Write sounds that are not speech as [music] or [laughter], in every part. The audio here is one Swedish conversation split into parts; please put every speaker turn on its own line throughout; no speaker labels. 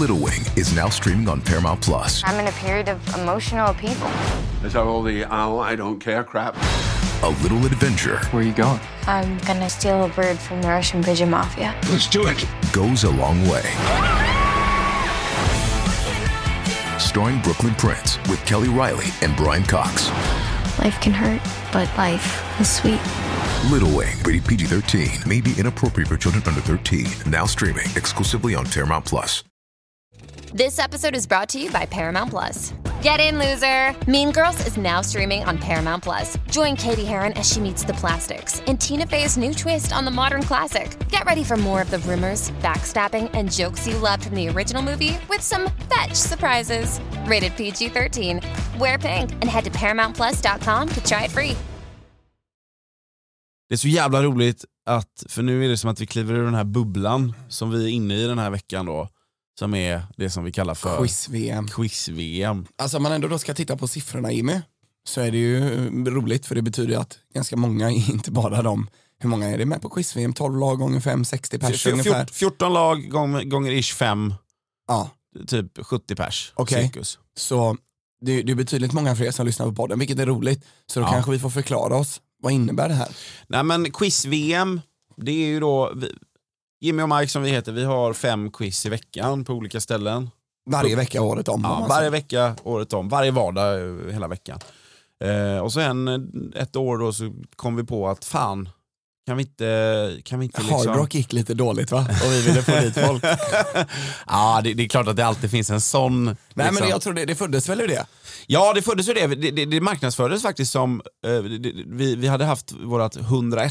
Little Wing is now streaming on Paramount Plus.
I'm in a period of emotional upheaval.
Is that all the oh, I don't care crap?
A little adventure
Where are you going?
I'm gonna steal a bird from the Russian pigeon mafia.
Let's do it.
goes a long way. Starring Brooklyn Prince with Kelly Riley and Brian Cox.
Life can hurt, but life is sweet.
Little Wing, rated PG 13, may be inappropriate for children under 13. Now streaming exclusively on Paramount Plus.
This episode is brought to you by Paramount Plus. Get in, loser! Mean Girls is now streaming on Paramount Plus. Join Katie Heron as she meets the plastics in Tina Fey's new twist on the modern classic. Get ready for more of the rumors, backstabbing, and jokes you loved from the original movie with some fetch surprises. Rated PG 13. Wear pink and head to ParamountPlus.com to try it free.
Det är så jävla roligt att, för nu är det som att vi kliver ur den här bubblan som vi är inne i den här veckan då, som är det som vi kallar för
Quiz-VM.
quiz-VM.
Alltså om man ändå då ska titta på siffrorna Jimmy, så är det ju eh, roligt för det betyder ju att ganska många, [laughs] inte bara de, hur många är det med på quiz-VM? 12 lag gånger 5, 60 pers
Fj-
ungefär.
fjort- 14 lag gång- gånger ish 5,
Ja,
typ 70 pers.
Okej.
Cirkus.
så det, det är betydligt många fler som lyssnar på podden, vilket är roligt. Så då
Ja.
kanske vi får förklara oss, vad innebär det här?
Nej men quiz-VM, det är ju då, vi, Jimmy och Mike som vi heter, vi har fem quiz i veckan på olika ställen.
Varje vecka året om. om
Ja,
man
varje
säger.
vecka, året om. Varje vardag eh, hela veckan. Eh, och så en, ett år då så kom vi på att fan, kan vi inte, kan vi inte liksom...
Hard Rock gick lite dåligt va? Och vi ville få dit [laughs] folk.
ja, det, det är klart att det alltid finns en sån.
Nej
liksom.
men jag tror det, det föddes väl ur det?
Ja, det föddes ju det. Det, det. det marknadsfördes faktiskt som, eh, det, det, vi, vi hade haft vårt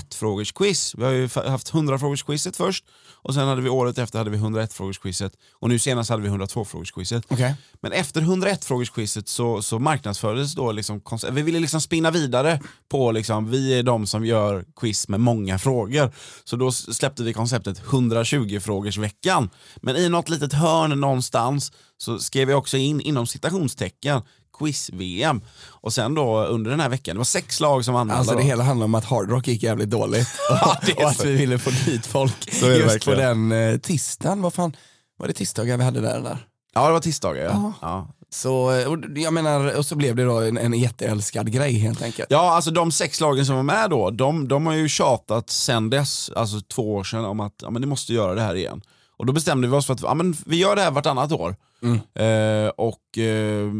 101-frågors-quiz. Vi har ju fa- haft 100-frågors-quizet först och sen hade vi året efter hade vi 101-frågors-quizet och nu senast hade vi 102-frågors-quizet.
Okej.
Men efter 101-frågors-quizet så, så marknadsfördes då liksom, konce- vi ville liksom spinna vidare på liksom, vi är de som gör quiz med många frågor. Så då s- släppte vi konceptet 120-frågorsveckan. Men i något litet hörn någonstans så skrev vi också in inom citationstecken quiz-VM. Och sen då under den här veckan, det var sex lag som anmälde.
Alltså det
då.
hela handlar om att Hard Rock gick jävligt dåligt
[laughs] Ja, det är
och att
så.
vi ville få
[laughs]
dit folk
Så är det
just på
verkligen.
den eh, tisdagen, vad fan var det tisdagar vi hade där eller?
Ja det var tisdagar ja. ja.
Så, eh, och d- jag menar, och så blev det då en, en jätteälskad grej helt enkelt.
Ja, alltså de sex lagen som var med då, de, de har ju tjatat sen dess, alltså två år sedan, om att ja, men ni måste göra det här igen. Och då bestämde vi oss för att ja, men vi gör det här vartannat år.
Mm.
Eh, och, eh,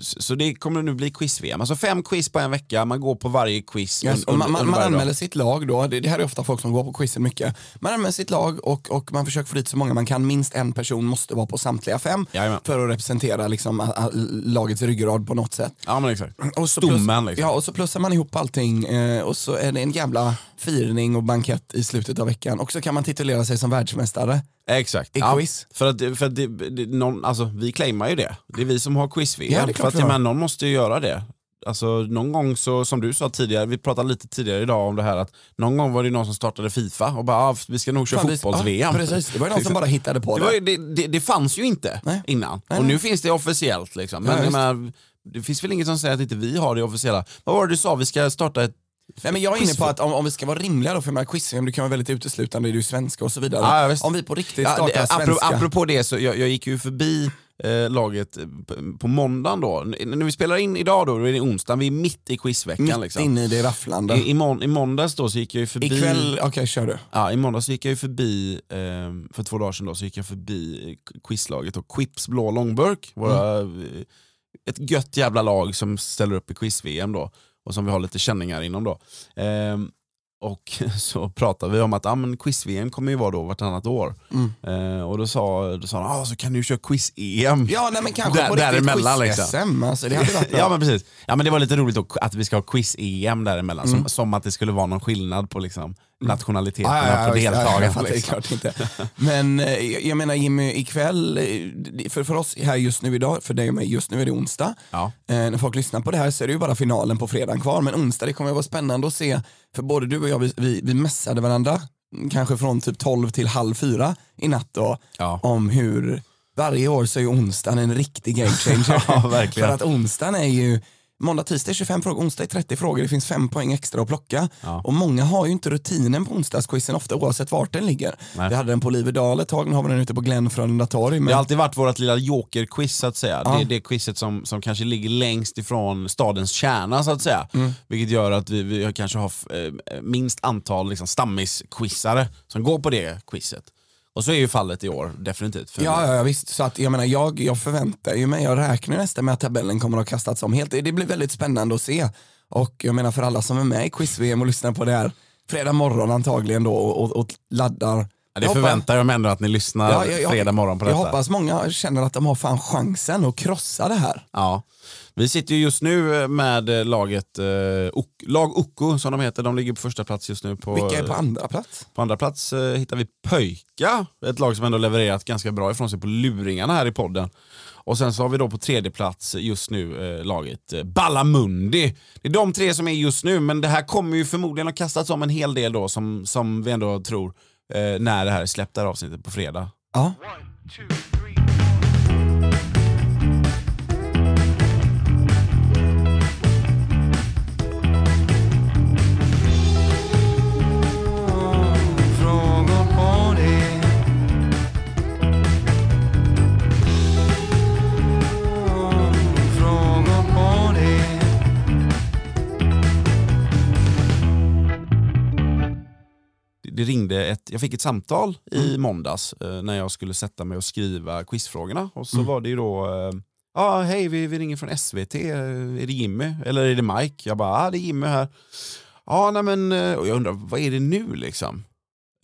s- så det kommer nu bli quiz-VM. Alltså fem quiz på en vecka, man går på varje quiz.
Yes,
un-
Eh, och man,
under-
man,
under
man
varje dag.
anmäler sitt lag då, det, det här är ofta folk som går på quizen mycket. Man anmäler sitt lag och, och man försöker få dit så många man kan, minst en person måste vara på samtliga fem
Jajamän.
för att representera liksom, a, a, lagets ryggrad på något sätt.
Ja men exakt.
Och så
Stommen
plus,
liksom.
Ja, och så plussar man ihop allting eh, och så är det en jävla firning och bankett i slutet av veckan. Och så kan man titulera sig som världsmästare.
Exakt.
I quiz.
För att, för att det, det, någon, alltså, vi claimar ju det. Det är vi som har quiz-VM.
Ja, det är klart
för att,
vi har.
men, någon måste ju göra det. Alltså, någon gång, så, som du sa tidigare, vi pratade lite tidigare idag om det här att någon gång var det någon som startade Fifa och bara ah, vi ska nog köra
Fan, vi-
fotbolls-VM.
Ja, precis, det var ju någon som bara hittade på
det,
det.
var, ju- det, det, det fanns ju inte
Nej.
innan
Nej,
och
nej.
nu finns det officiellt. Liksom. Men
Ja,
jag
visst.
menar, det finns väl inget som säger att inte vi har det officiella. Vad var det du sa, vi ska starta ett...
Nej, men jag är inne på
Quiz-
att om, om vi ska vara rimliga då, för de här quiz-VM, du kan vara väldigt uteslutande, du är svenska och så vidare.
Ja, ja, visst.
om vi på riktigt
Ja,
startar
det, apropå,
svenska.
apropå det, så jag, jag gick ju förbi eh, laget eh, på- på måndagen då. N- När vi spelar in idag då, då är det onsdag, vi är mitt i quizveckan.
mitt
liksom.
inne i det rafflande.
I, i, mån, I måndags då så gick jag ju förbi...
Ikväll, okej kör du.
Ja, i måndags så gick jag ju förbi, eh, för två dagar sedan då, så gick jag förbi eh, quizlaget och Quips blå långburk. Våra,
Mm.
eh, Ett gött jävla lag som ställer upp i quiz-VM då och som vi har lite känningar inom då. Ehm, och [laughs] så pratade vi om att ah, men quiz-VM kommer ju vara då vartannat år.
Mm.
Eh, och då sa, då sa han, ah, så kan du ju köra quiz-EM.
Ja, nej men kanske
Där-
på riktigt
däremellan, liksom.
quiz-SM, alltså, det hade
[laughs]
varit bra.
Ja men precis. Ja, men det var lite roligt då, att vi ska ha quiz-EM däremellan,
Mm.
som, som att det skulle vara någon skillnad på liksom, nationaliteterna på
visst,
deltagarna.
jag fattar, det är
liksom.
klart inte. Men eh, jag jag menar Jimmy, ikväll, eh, det- för, för oss här just nu idag, för dig och mig just nu är det onsdag.
Ja.
Eh, när folk lyssnar på det här så är det ju bara finalen på fredagen kvar, men onsdag det kommer att vara spännande att se, för både du och jag, vi, vi, vi mässade varandra, kanske från typ 12 till halv fyra i natt då,
Ja.
om hur varje år så är ju onsdagen en riktig game changer.
[laughs] Ja, verkligen.
för att onsdagen är ju Måndag, tisdag är 25 frågor, onsdag är 30 frågor, det finns fem poäng extra att plocka.
Ja.
Och många har ju inte rutinen på onsdagsquizen ofta oavsett vart den ligger.
Nej.
Vi hade den på Oliverdal ett tag, nu har vi den ute på Glenn Frölunda torg.
Det
Men
har alltid varit vårt lilla joker-quiz så att säga.
Ja.
Det är det quizet som, som kanske ligger längst ifrån stadens kärna så att säga.
Mm.
Vilket gör att vi, vi kanske har f- eh, minst antal liksom, stammis-quizare som går på det quizet. Och så är ju fallet i år definitivt. För
Ja, ja, ja visst. Så att, jag, menar, jag, jag förväntar ju mig, jag räknar nästan med att tabellen kommer att ha kastats om helt. Det det blir väldigt spännande att se. Och jag menar för alla som är med i quiz-VM och lyssnar på det här fredag morgon antagligen då och, och, och laddar.
Ja, det
Jag hoppas-
förväntar jag mig ändå att ni lyssnar
Ja, jag- jag-
fredag morgon på
Jag
detta.
hoppas många känner att de har fan chansen att krossa det här.
Ja. Vi sitter ju just nu med eh, laget eh, Ok- Lag Oko som de heter. De ligger på första plats just nu. På,
Vilka är på andra plats?
På andra plats eh, hittar vi Pöjka, ett lag som ändå levererat ganska bra ifrån sig på luringarna här i podden. Och sen så har vi då på tredje plats just nu eh, laget eh, Ballamundi. Det är de tre som är just nu, men det här kommer ju förmodligen att kastats om en hel del då som, som vi ändå tror eh, när det här är släppt, det här avsnittet på fredag.
Ja.
Det- det ringde ett, jag fick ett samtal i måndags eh, när jag skulle sätta mig och skriva quizfrågorna. Och så var det ju då, eh, ja hej vi, vi ringer från SVT, Eh, är det Jimmy eller är det Mike? Jag bara, ja ah, det är Jimmy här. Ja nej men, eh, och jag undrar vad är det nu liksom?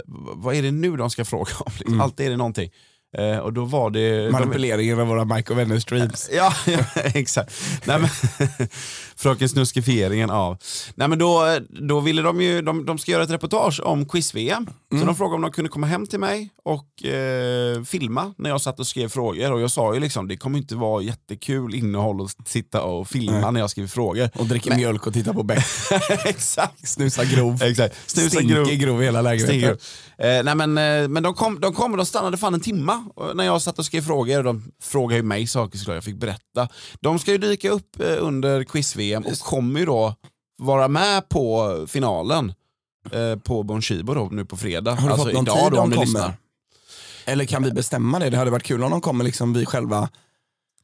V- vad är det nu de ska fråga om? [laughs] Liksom? Alltid är det någonting. Eh, och då var det... de-
Manipuleringen av våra Mike och Vänner-streams.
Ja, ja [laughs] exakt. Nej, men, [laughs] fröken Snuskifieringen av. Nej, men då, då ville de ju, de, de ska göra ett reportage om quiz-VM.
Mm.
Så de frågade om de kunde komma hem till mig och eh, filma när jag satt och skrev frågor. Och jag sa ju liksom, det kommer inte vara jättekul innehåll att sitta och filma när jag skriver frågor.
Och dricker mjölk och tittar på Beck.
[laughs] exakt.
Snusar grov.
Exakt. Snusa
Stinker
grov.
grov i hela lägenheten.
Stiger upp. Eh, nej men, eh, men de kom, de kom och de stannade fan en timma eh, när jag satt och skrev frågor. De frågade ju mig saker såklart, jag fick berätta. De ska ju dyka upp eh, under quiz-VM och kommer ju då vara med på finalen eh, på Bon Chibo då, nu på fredag. Alltså,
Har du fått någon tid
då, om
de
ni
kommer?
lyssnar. Eh.
Eller kan vi bestämma det? Det hade varit kul om de kommer liksom vid själva...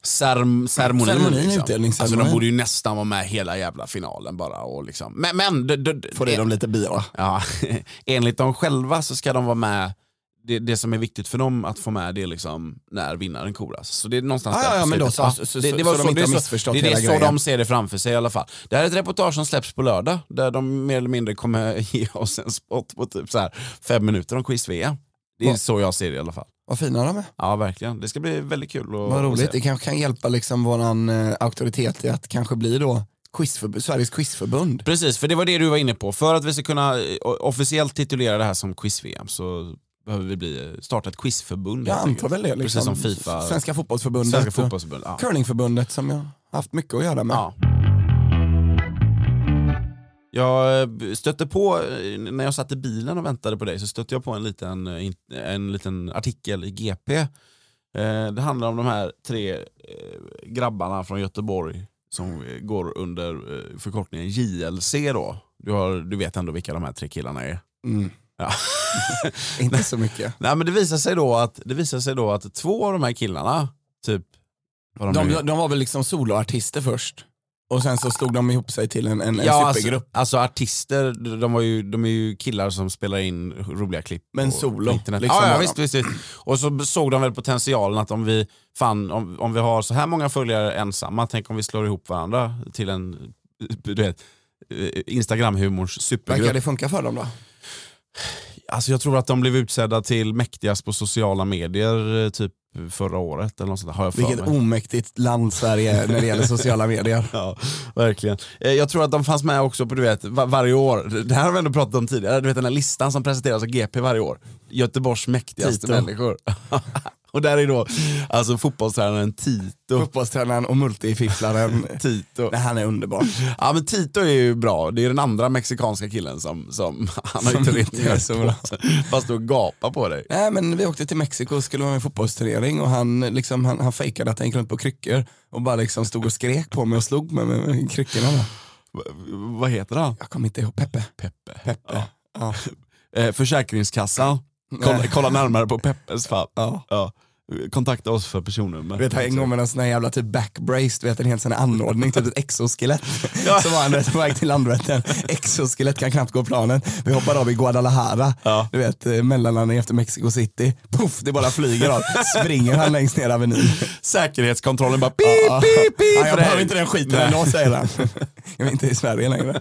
Cerm, ceremonin.
Ceremonin,
liksom.
utdelningsceremonin.
Alltså de borde ju nästan vara med hela jävla finalen bara. Och liksom. Men, men d- d- d-
Får i dem lite bira.
Eh. Ja, [laughs] enligt dem själva så ska de vara med det, det som är viktigt för dem att få med det är liksom när vinnaren koras. Så det är någonstans
Ah, ja,
där
ja,
på
men då
slutet.
så-
Ja,
så- så-
det- det
så
var
de
så- det
inte
är
har
så-
missförstått
det är det
hela
så
grejen.
de ser det framför sig i alla fall. Det här är ett reportage som släpps på lördag där de mer eller mindre kommer [laughs] ge oss en spot på typ så här fem minuter om quiz-VM. Det är
Vad-
så jag ser det i alla fall.
Vad fina de är.
Ja verkligen, det ska bli väldigt kul att,
Vad roligt.
att se.
Det kanske kan hjälpa liksom våran eh, auktoritet i att kanske bli då quizförbund, Sveriges quizförbund.
Precis, för det var det du var inne på. För att vi ska kunna eh, o- officiellt titulera det här som quiz-VM så behöver vi bli, eh, starta ett quizförbund.
Jag
helt enkelt.
antar väl det. Liksom.
Precis som Fifa.
Svenska fotbollsförbundet.
Svenska
och
fotbollsförbundet. Ja.
Curlingförbundet som jag haft mycket att göra med.
Ja. Jag eh, stötte på, eh, när jag satt i bilen och väntade på dig, så stötte jag på en liten, eh, in- en liten artikel i GP. Eh, Det handlar om de här tre eh, grabbarna från Göteborg som eh, går under eh, förkortningen JLC då. Du, har, du vet ändå vilka de här tre killarna är?
Mm.
Ja.
[laughs] Inte
[laughs]
så mycket.
Nej men det visar sig då att, det visar sig då att två av de här killarna, typ vad nu-
De, de var väl liksom soloartister först. Och sen så slog de ihop sig till en, en, en supergrupp.
Alltså, alltså artister, de, var ju, de är ju killar som spelar in roliga klipp.
Men
på
solo,
internet.
liksom.
ja, ja, visst, visst, visst. Och så såg de väl potentialen att om vi, fan, om, om vi har så här många följare ensamma, tänk om vi slår ihop varandra till en du vet, eh, Instagram-humorns
Verkar
supergrupp.
det funka för dem då?
Alltså jag tror att de blev utsedda till mäktigast på sociala medier eh, typ förra året eller något sånt där, har jag för
Vilket
mig.
omäktigt land Sverige är när det gäller sociala medier.
[laughs] Ja, verkligen. Eh, Jag tror att de fanns med också på du vet, va- varje år, det här har vi ändå pratat om tidigare, du vet den här listan som presenteras av GP varje år. Göteborgs mäktigaste
Tito.
människor. Och där är då alltså fotbollstränaren Tito.
Fotbollstränaren och multififflaren.
Tito.
Nej, han är underbar.
Ja men Tito är ju bra, det är den andra mexikanska killen som, som [laughs] han har ju inte reagerat
så
på.
bra.
Fast då gapar på dig.
Nej äh, men vi åkte till Mexiko och skulle vara med i en fotbollsturnering och han, liksom, han, han fejkade att han gick runt på kryckor och bara liksom stod och skrek på mig och slog mig med, med kryckorna. va.
V- vad heter han?
Jag kommer inte ihåg, Peppe.
Peppe.
Peppe.
Ja.
Ja.
Eh, Försäkringskassan, kolla,
Nej.
kolla närmare på Peppes fall. Ja. Kontakta oss för personnummer.
Du vet han en gång med en sån här jävla typ backbrace, du vet en hel sån här anordning, typ ett exoskelett.
[laughs] Ja.
Så var han du vet, på väg till landrätten, exoskelett kan knappt gå planen. Vi hoppar av i Guadalajara,
Ja.
du vet eh, mellanlandning efter Mexico City. Poff, det bara flyger av, springer han längst
[laughs]
ner avenyn.
Säkerhetskontrollen bara pip,
Ja.
pip, pip.
Ja,
för
jag
dig.
behöver inte den skiten
Nej.
ändå säger han. [laughs] Jag är inte i Sverige längre.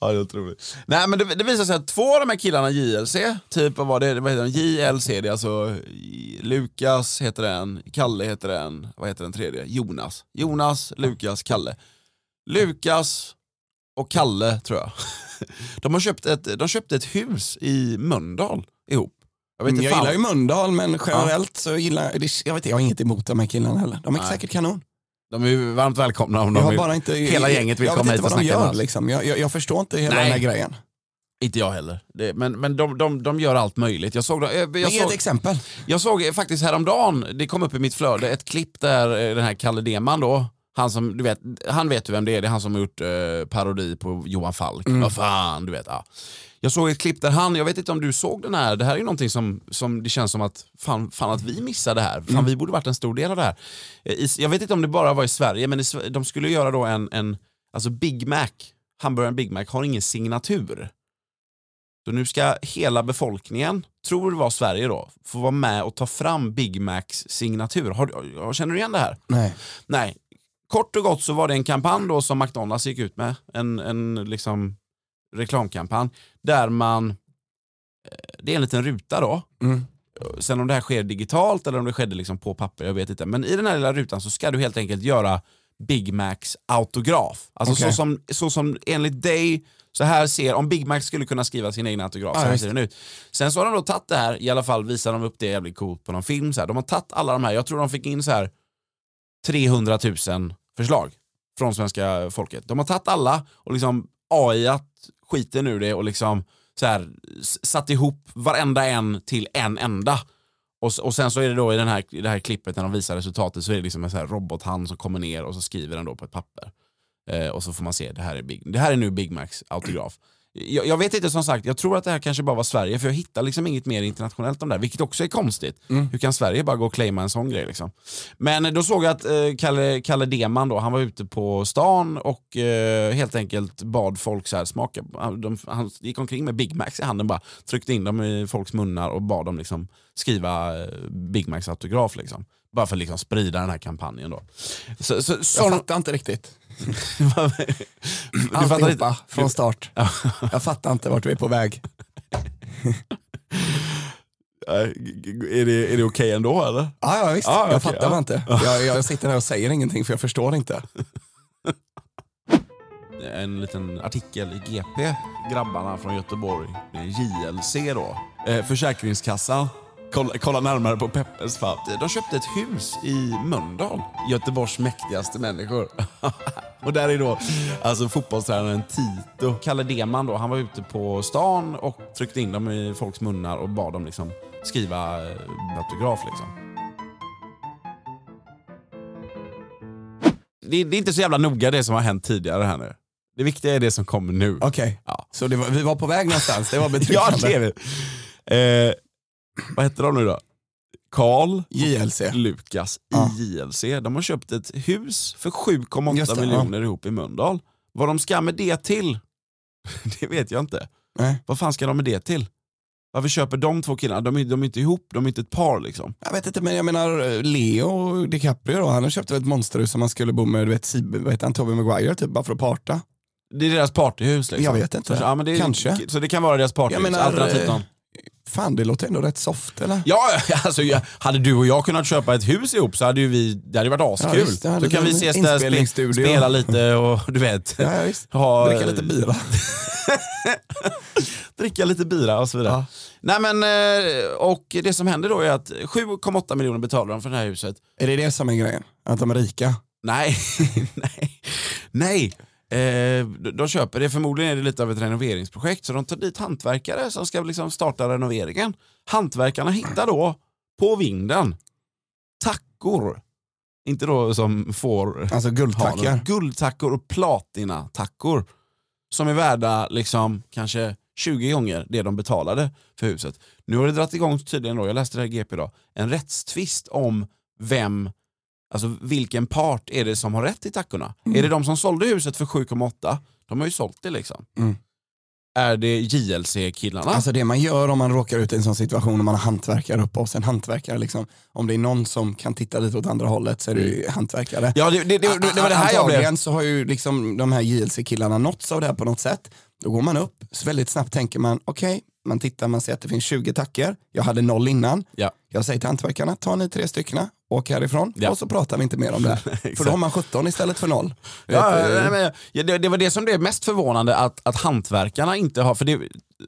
Ja, det är otroligt. Nej, men det, det visar sig att två av de här killarna JLC, typ vad var det, vad heter den? JLC, det är alltså i- Lukas heter den, Kalle heter den, vad heter den tredje? Jonas. Jonas, Lukas, Kalle. Lukas och Kalle tror jag. [laughs] De, har köpt ett, de köpte ett hus i Mölndal ihop. Jag, vet
Mm, Jag
inte fan-
gillar ju Mölndal men generellt så gillar jag, det- jag vet inte, jag har inget emot de här killarna heller. De är
Nej.
säkert kanon.
De är ju varmt välkomna om
Jag
de
har
vill.
bara inte,
hela gänget vill
jag
komma
vet
hit
inte
och
vad de
snacka med
gör
oss.
liksom. Jag, jag, jag förstår inte hela
Nej.
den här grejen.
Inte jag heller. Det, men men de, de, de gör allt möjligt. Jag såg, dem- jag,
Men
jag
ge ett
såg,
exempel.
Jag såg faktiskt häromdagen, det kom upp i mitt flöde, ett klipp där eh, den här Kalle Deman då, han som, du vet, han vet ju vem det är, det är han som har gjort eh, parodi på Johan Falk. Vad fan, du vet. Ja. Jag såg ett klipp där han, jag vet inte om du såg den här, det här är ju någonting som, som det känns som att fan, fan att vi missade det här, fan vi borde varit en stor del av det här. Eh, I, jag vet inte om det bara var i Sverige, men i, Sve- de skulle göra då en, en alltså Big Mac, hamburgaren Big Mac har ingen signatur. Så nu ska hela befolkningen, tror det var Sverige då, få vara med och ta fram Big Macs signatur. Har, du- ja, känner du igen det här?
Nej.
Nej. Kort och gott så var det en kampanj då som McDonalds gick ut med, en, en liksom reklamkampanj, där man, eh, det är en liten ruta då,
Mm.
sen om det här sker digitalt eller om det skedde liksom på papper, jag vet inte. Men i den här lilla rutan så ska du helt enkelt göra Big Macs autograf. Alltså
Okej.
så, som, så som enligt dig, så här ser, om Big Mac skulle kunna skriva sin egen autograf,
Ja,
så här
visst.
ser den ut. Sen så har de då tagit det här, i alla fall visar de upp det jävligt coolt på någon film. Så här. De har tagit alla de här, jag tror de fick in så här 300 000 förslag från svenska folket. De har tagit alla och liksom AI-at skiten ur det och liksom så här, s- satt ihop varenda en till en enda. Och, s- och sen så är det då i, den här, i det här klippet när de visar resultatet så är det liksom en så här robothand som kommer ner och så skriver den då på ett papper. Eh, och så får man se, det här är, Big, det här är nu Big Macs autograf. Jag, jag vet inte som sagt, jag tror att det här kanske bara var Sverige för jag hittar liksom inget mer internationellt om det här, vilket också är konstigt.
Mm.
Hur kan Sverige bara gå och claima en sån grej liksom? Men då såg jag att eh, Kalle, Kalle Deman då, han var ute på stan och eh, helt enkelt bad folk så här smaka. Han, de, han gick omkring med Big Macs i handen bara, tryckte in dem i folks munnar och bad dem liksom skriva eh, Big Macs autograf liksom. Bara för att liksom sprida den här kampanjen då. Så, så,
Jag
sån...
fattar inte riktigt.
du fattar inte?
Alltihopa från start. Jag fattar inte vart vi är på väg.
Eh, g- g- Är det, är det okej ändå eller?
Ja, ja visst.
Ja, okej,
jag fattar
ja.
bara inte. Jag, jag sitter här och säger ingenting för jag förstår inte.
en liten artikel i GP. Grabbarna från Göteborg, det är JLC då. Eh, Försäkringskassan. Kolla, kolla närmare på Peppes fall. De köpte ett hus i Mölndal. Göteborgs mäktigaste människor. [laughs] och där är då alltså fotbollstränaren Tito. Kalle Deman då, han var ute på stan och tryckte in dem i folks munnar och bad dem liksom skriva eh, autograf liksom. Det, det är inte så jävla noga det som har hänt tidigare här nu. Det viktiga är det som kommer nu.
Okej,
Ja.
så det var, vi var på väg någonstans. Det var
[laughs] Ja,
betryggande.
det är vi. Eh, vad heter de nu då? Karl
JLC.
Lukas
Ja.
i JLC. De har köpt ett hus för
Just
7,8
det,
miljoner ihop i Mölndal. Vad de ska med det till, [laughs] det vet jag inte.
Nej.
Vad fan ska de med det till? Varför köper de två killarna? De är, de är inte ihop, de är inte ett par liksom.
Jag vet inte, men jag menar Leo DiCaprio då, han köpte väl ett monsterhus som han skulle bo med, du vet, Sib- vad heter han, Tobey Maguire typ, bara för att parta.
Det är deras partyhus. Liksom.
Jag vet inte.
Så, ja, men det är,
Kanske.
Så det kan vara deras partyhus.
Jag menar,
alternativt
eh,
någon.
Fan, det låter ändå rätt soft eller?
Ja, [laughs] alltså, jag, hade du och jag kunnat köpa ett hus ihop så hade ju vi, det hade ju varit askul.
Ja, visst, det hade
Då kan vi
varit en
ses där, spe,
inspelningsstudio.
spela lite och du vet.
Ja, ja, visst.
Ha,
Dricka lite bira.
[laughs] dricka lite bira och så vidare.
Ja.
Nej, men, eh, och det som händer då är att 7,8 miljoner betalar de för det här huset.
Är det det som är grejen? Att de är rika?
Nej, [laughs] nej, nej. Eh, de- de köper det, förmodligen är det lite av ett renoveringsprojekt så de tar dit hantverkare som ska liksom starta renoveringen. Hantverkarna hittar då på vinden tackor, inte då som får
Alltså
har
guldtackar?
guldtackor och platinatackor som är värda liksom kanske 20 gånger det de betalade för huset. Nu har det dragit igång tydligen, då, jag läste det här i GP idag, en rättstvist om vem, alltså vilken part är det som har rätt till tackorna?
Mm.
Är det de som sålde huset för 7,8? De har ju sålt det liksom.
Mm.
Är det JLC-killarna?
Alltså det man gör om man råkar ut i en sån situation när man har hantverkare uppe hos en hantverkare. Liksom, om det är någon som kan titta lite åt andra hållet så är det ju hantverkare.
Mm. ja, det, det, det, det, var det här jag blev...
Antagligen så har ju liksom de här JLC-killarna nåtts av det här på något sätt. Då går man upp, så väldigt snabbt tänker man okej, man tittar, man ser att det finns 20 tacker. Jag hade noll innan.
Ja.
Jag säger till hantverkarna, ta ni tre styckna, åk härifrån
Ja.
och så pratar vi inte mer om det.
[laughs]
här. för då har man 17 istället för noll.
Ja,
Vet du?
nej, men, ja, det, det var det som blev mest förvånande, att, att hantverkarna inte har... För det,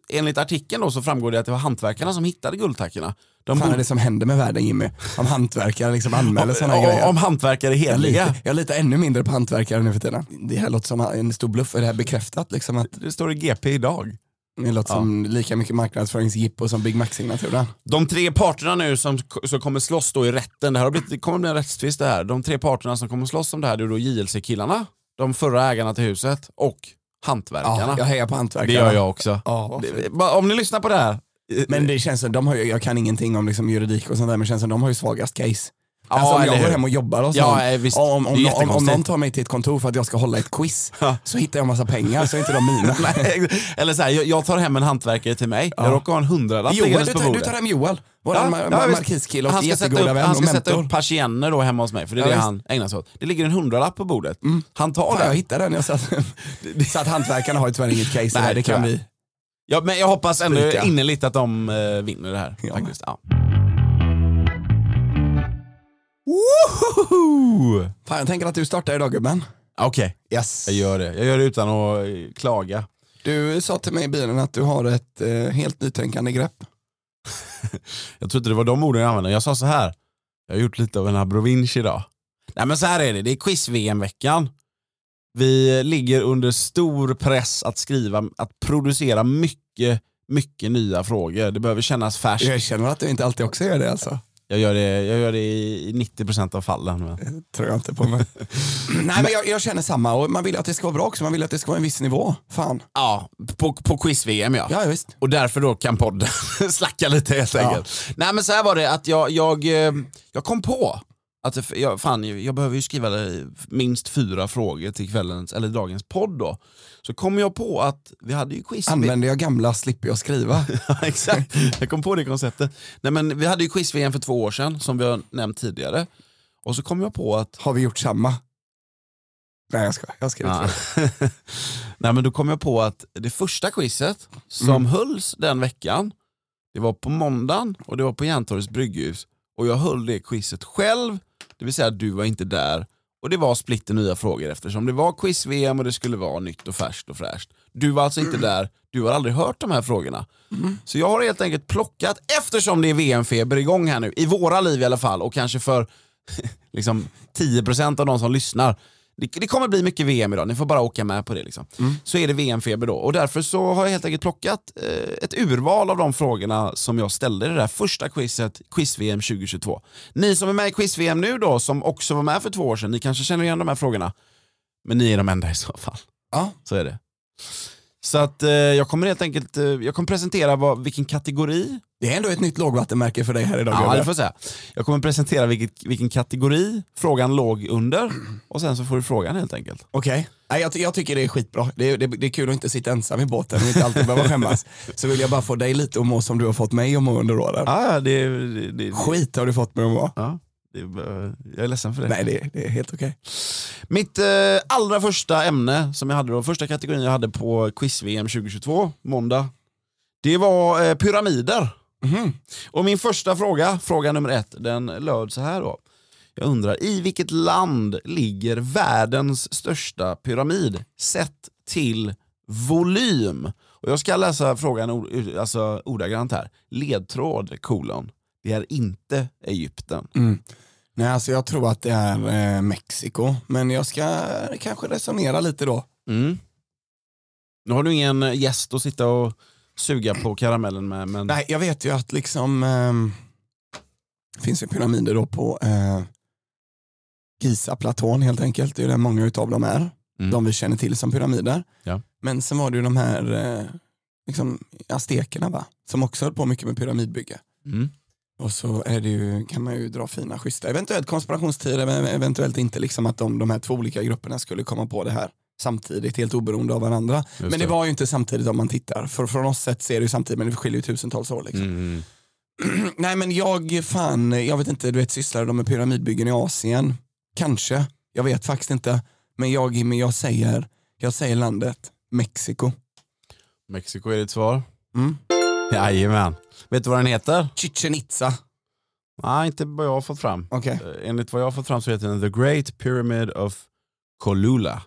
enligt artikeln då så framgår det att det var hantverkarna som hittade guldtackorna. De
fan är
borde-
det som händer med världen Jimmy? Om hantverkare liksom anmäler sådana här
om,
grejer.
om hantverkare är
jag,
heliga.
litar, jag litar ännu mindre på hantverkare nu för tiden. Det här låter som en stor bluff, är det här bekräftat? Liksom att
Det står i GP idag.
det låter som lika mycket marknadsföringsjippo som Big Mac-signaturen.
De tre parterna nu som, som kommer slåss då i rätten, det, här har blivit, det kommer bli en rättstvist det här. De tre parterna som kommer slåss om det här det är då JLC-killarna, de förra ägarna till huset och hantverkarna.
Ja, jag hejar på
det
hantverkare.
gör jag också.
Ja, vad fint.
Det- bara om ni lyssnar på det här, eh, [laughs]
men det känns som, de har ju, jag kan ingenting om liksom juridik och sånt där, men det känns som de har ju svagast case.
Ja,
alltså om
eller
jag går
hur?
hem och jobbar hos
Ja, eh,
någon,
visst.
och om,
Det är
om, om, om
jättekonstigt.
någon tar mig till ett kontor för att jag ska hålla ett quiz,
[laughs] Ja.
så hittar jag massa pengar så är inte de mina.
[laughs] Nej, Eller så här, jag, jag tar hem en hantverkare till mig, jag råkar ha en hundralapp
Joel,
liggandes
du,
på
tar- du
bordet.
tar hem Joel, vår
Ja,
mar-
ja,
mar-
visst.
markiskille
han
och
ska sätta
jättegoda
upp,
vän
han
och
ska sätta
mentor.
upp persienner då hemma hos mig, för det är
Ja,
det
visst. Mm.
han ägnar sig åt. Det ligger en hundralapp på bordet. Han tar
Fan, jag
det.
hittade den, jag satt, [laughs] så att hantverkarna har ju tyvärr inget case i det här, det kan
tyvärr.
vi.
Ja, men jag hoppas ändå
Spika.
innerligt att de eh, vinner det här.
Ja.
Faktiskt. Ja. Woho!
Fan, jag tänker att du startar idag gubben.
Okej,
Yes.
jag gör det. Jag gör det utan att eh, klaga.
Du sa till mig i bilen att du har ett eh, helt nytänkande grepp.
Jag tror inte det var de orden jag använde. Jag sa så här. Jag har gjort lite av en abrovinsch idag. Nej men så här är det. Det är quiz-VM-veckan. Vi ligger under stor press att skriva, att producera mycket, mycket nya frågor. Det behöver kännas färskt.
Jag känner att du inte alltid också gör det alltså.
Jag gör det, jag gör det i 90% av fallen. Men...
tror jag inte på [laughs] mig. Nej men jag, jag känner samma och man vill ju att det ska vara bra också, man vill att det ska vara en viss nivå. Fan.
Ja, på, på quiz-VM ja.
Ja visst.
Och därför då kan podden [laughs] slacka lite helt
Ja.
enkelt. Nej men så här var det att jag, jag, eh, jag kom på att det- jag, fan, jag behöver ju skriva eh, minst fyra frågor till kvällens, eller dagens podd då. Så kom jag på att vi hade ju quiz.
Använder jag gamla slipper jag skriva.
[laughs] Ja, Exakt, jag kom på det konceptet. Nej men vi hade ju quiz-VM för två år sedan som vi har nämnt tidigare. Och så kom jag på att
Har vi gjort samma? Nej jag ska. jag skriver
Ja. [laughs]
inte.
Nej men då kom jag på att det första quizet som
Mm.
hölls den veckan, det var på måndagen och det var på Järntorgets brygghus. Och jag höll det quizet själv, det vill säga du var inte där. Och det var splitter nya frågor eftersom det var quiz-VM och det skulle vara nytt och färskt och fräscht. Du var alltså inte där, du har aldrig hört de här frågorna. Så jag har helt enkelt plockat, eftersom det är VM-feber igång här nu, i våra liv i alla fall och kanske för [laughs] liksom 10% av de som lyssnar. Det, det kommer bli mycket VM idag, ni får bara åka med på det. Liksom. Så är det VM-feber då och därför så har jag helt enkelt plockat eh, ett urval av de frågorna som jag ställde i det där första quizet, Quiz-VM 2022. Ni som är med i Quiz-VM nu då, som också var med för två år sedan, ni kanske känner igen de här frågorna. Men ni är de enda i så fall.
Ja.
Så är det. Så att eh, jag kommer helt enkelt eh, jag kommer presentera vad, vilken kategori
Det är ändå ett nytt lågvattenmärke för dig här idag.
Ja,
gubbe.
det får jag säga. Jag kommer presentera vilket, vilken kategori frågan låg under och sen så får du frågan helt enkelt.
Okej. Nej, jag, ty- jag tycker det är skitbra. Det är, det, det är kul att inte sitta ensam i båten och inte alltid
[laughs]
behöva skämmas. Så vill jag bara få dig lite att må som du har fått mig att må under åren.
Ja, ja, det, det, det,
Skit har du fått mig att må.
ja, det, jag är ledsen för det.
Nej, det, det är helt okej.
Mitt eh, allra första ämne som jag hade då, första kategorin jag hade på quiz-VM 2022, måndag, det var eh, pyramider.
Mhm.
Och min första fråga, fråga nummer ett, den löd så här då. Jag undrar, i vilket land ligger världens största pyramid sett till volym? Och Och jag ska läsa frågan or- ur- alltså, ordagrant här. Ledtråd kolon. Det är inte Egypten.
Nej, alltså jag tror att det är eh, Mexiko, men jag ska kanske resonera lite då.
Mm. Nu har du ingen gäst att sitta och suga på karamellen med. Men...
Nej, jag vet ju att liksom ehm, finns ju pyramider då på eh, Giza-platån helt enkelt. Det är ju där många utav dem är.
Mm.
De vi känner till som pyramider.
Ja.
Men sen var det ju de här eh, liksom, aztekerna va? Som också höll på mycket med pyramidbygge.
Mm.
Och så är det ju, kan man ju dra fina schyssta, eventuellt konspirationstider, men eventuellt inte liksom att de, de här två olika grupperna skulle komma på det här samtidigt, helt oberoende av varandra. men det,
det.
var ju inte samtidigt om man tittar, för från oss sett ser det ju samtidigt, men det skiljer ju tusentals år. Liksom.
Mm.
[clears throat] Nej men jag fan, jag vet inte, du vet sysslar de med pyramidbyggen i Asien? Kanske, jag vet faktiskt inte. Men jag, men jag, säger, jag säger landet Mexiko.
Mexiko är ditt svar.
Mm.
Jajamän. Vet du vad den heter?
Chichen Itza.
Nej, inte vad jag har fått fram.
Okej.
Eh, Enligt vad jag har fått fram så heter den The Great Pyramid of Cholula.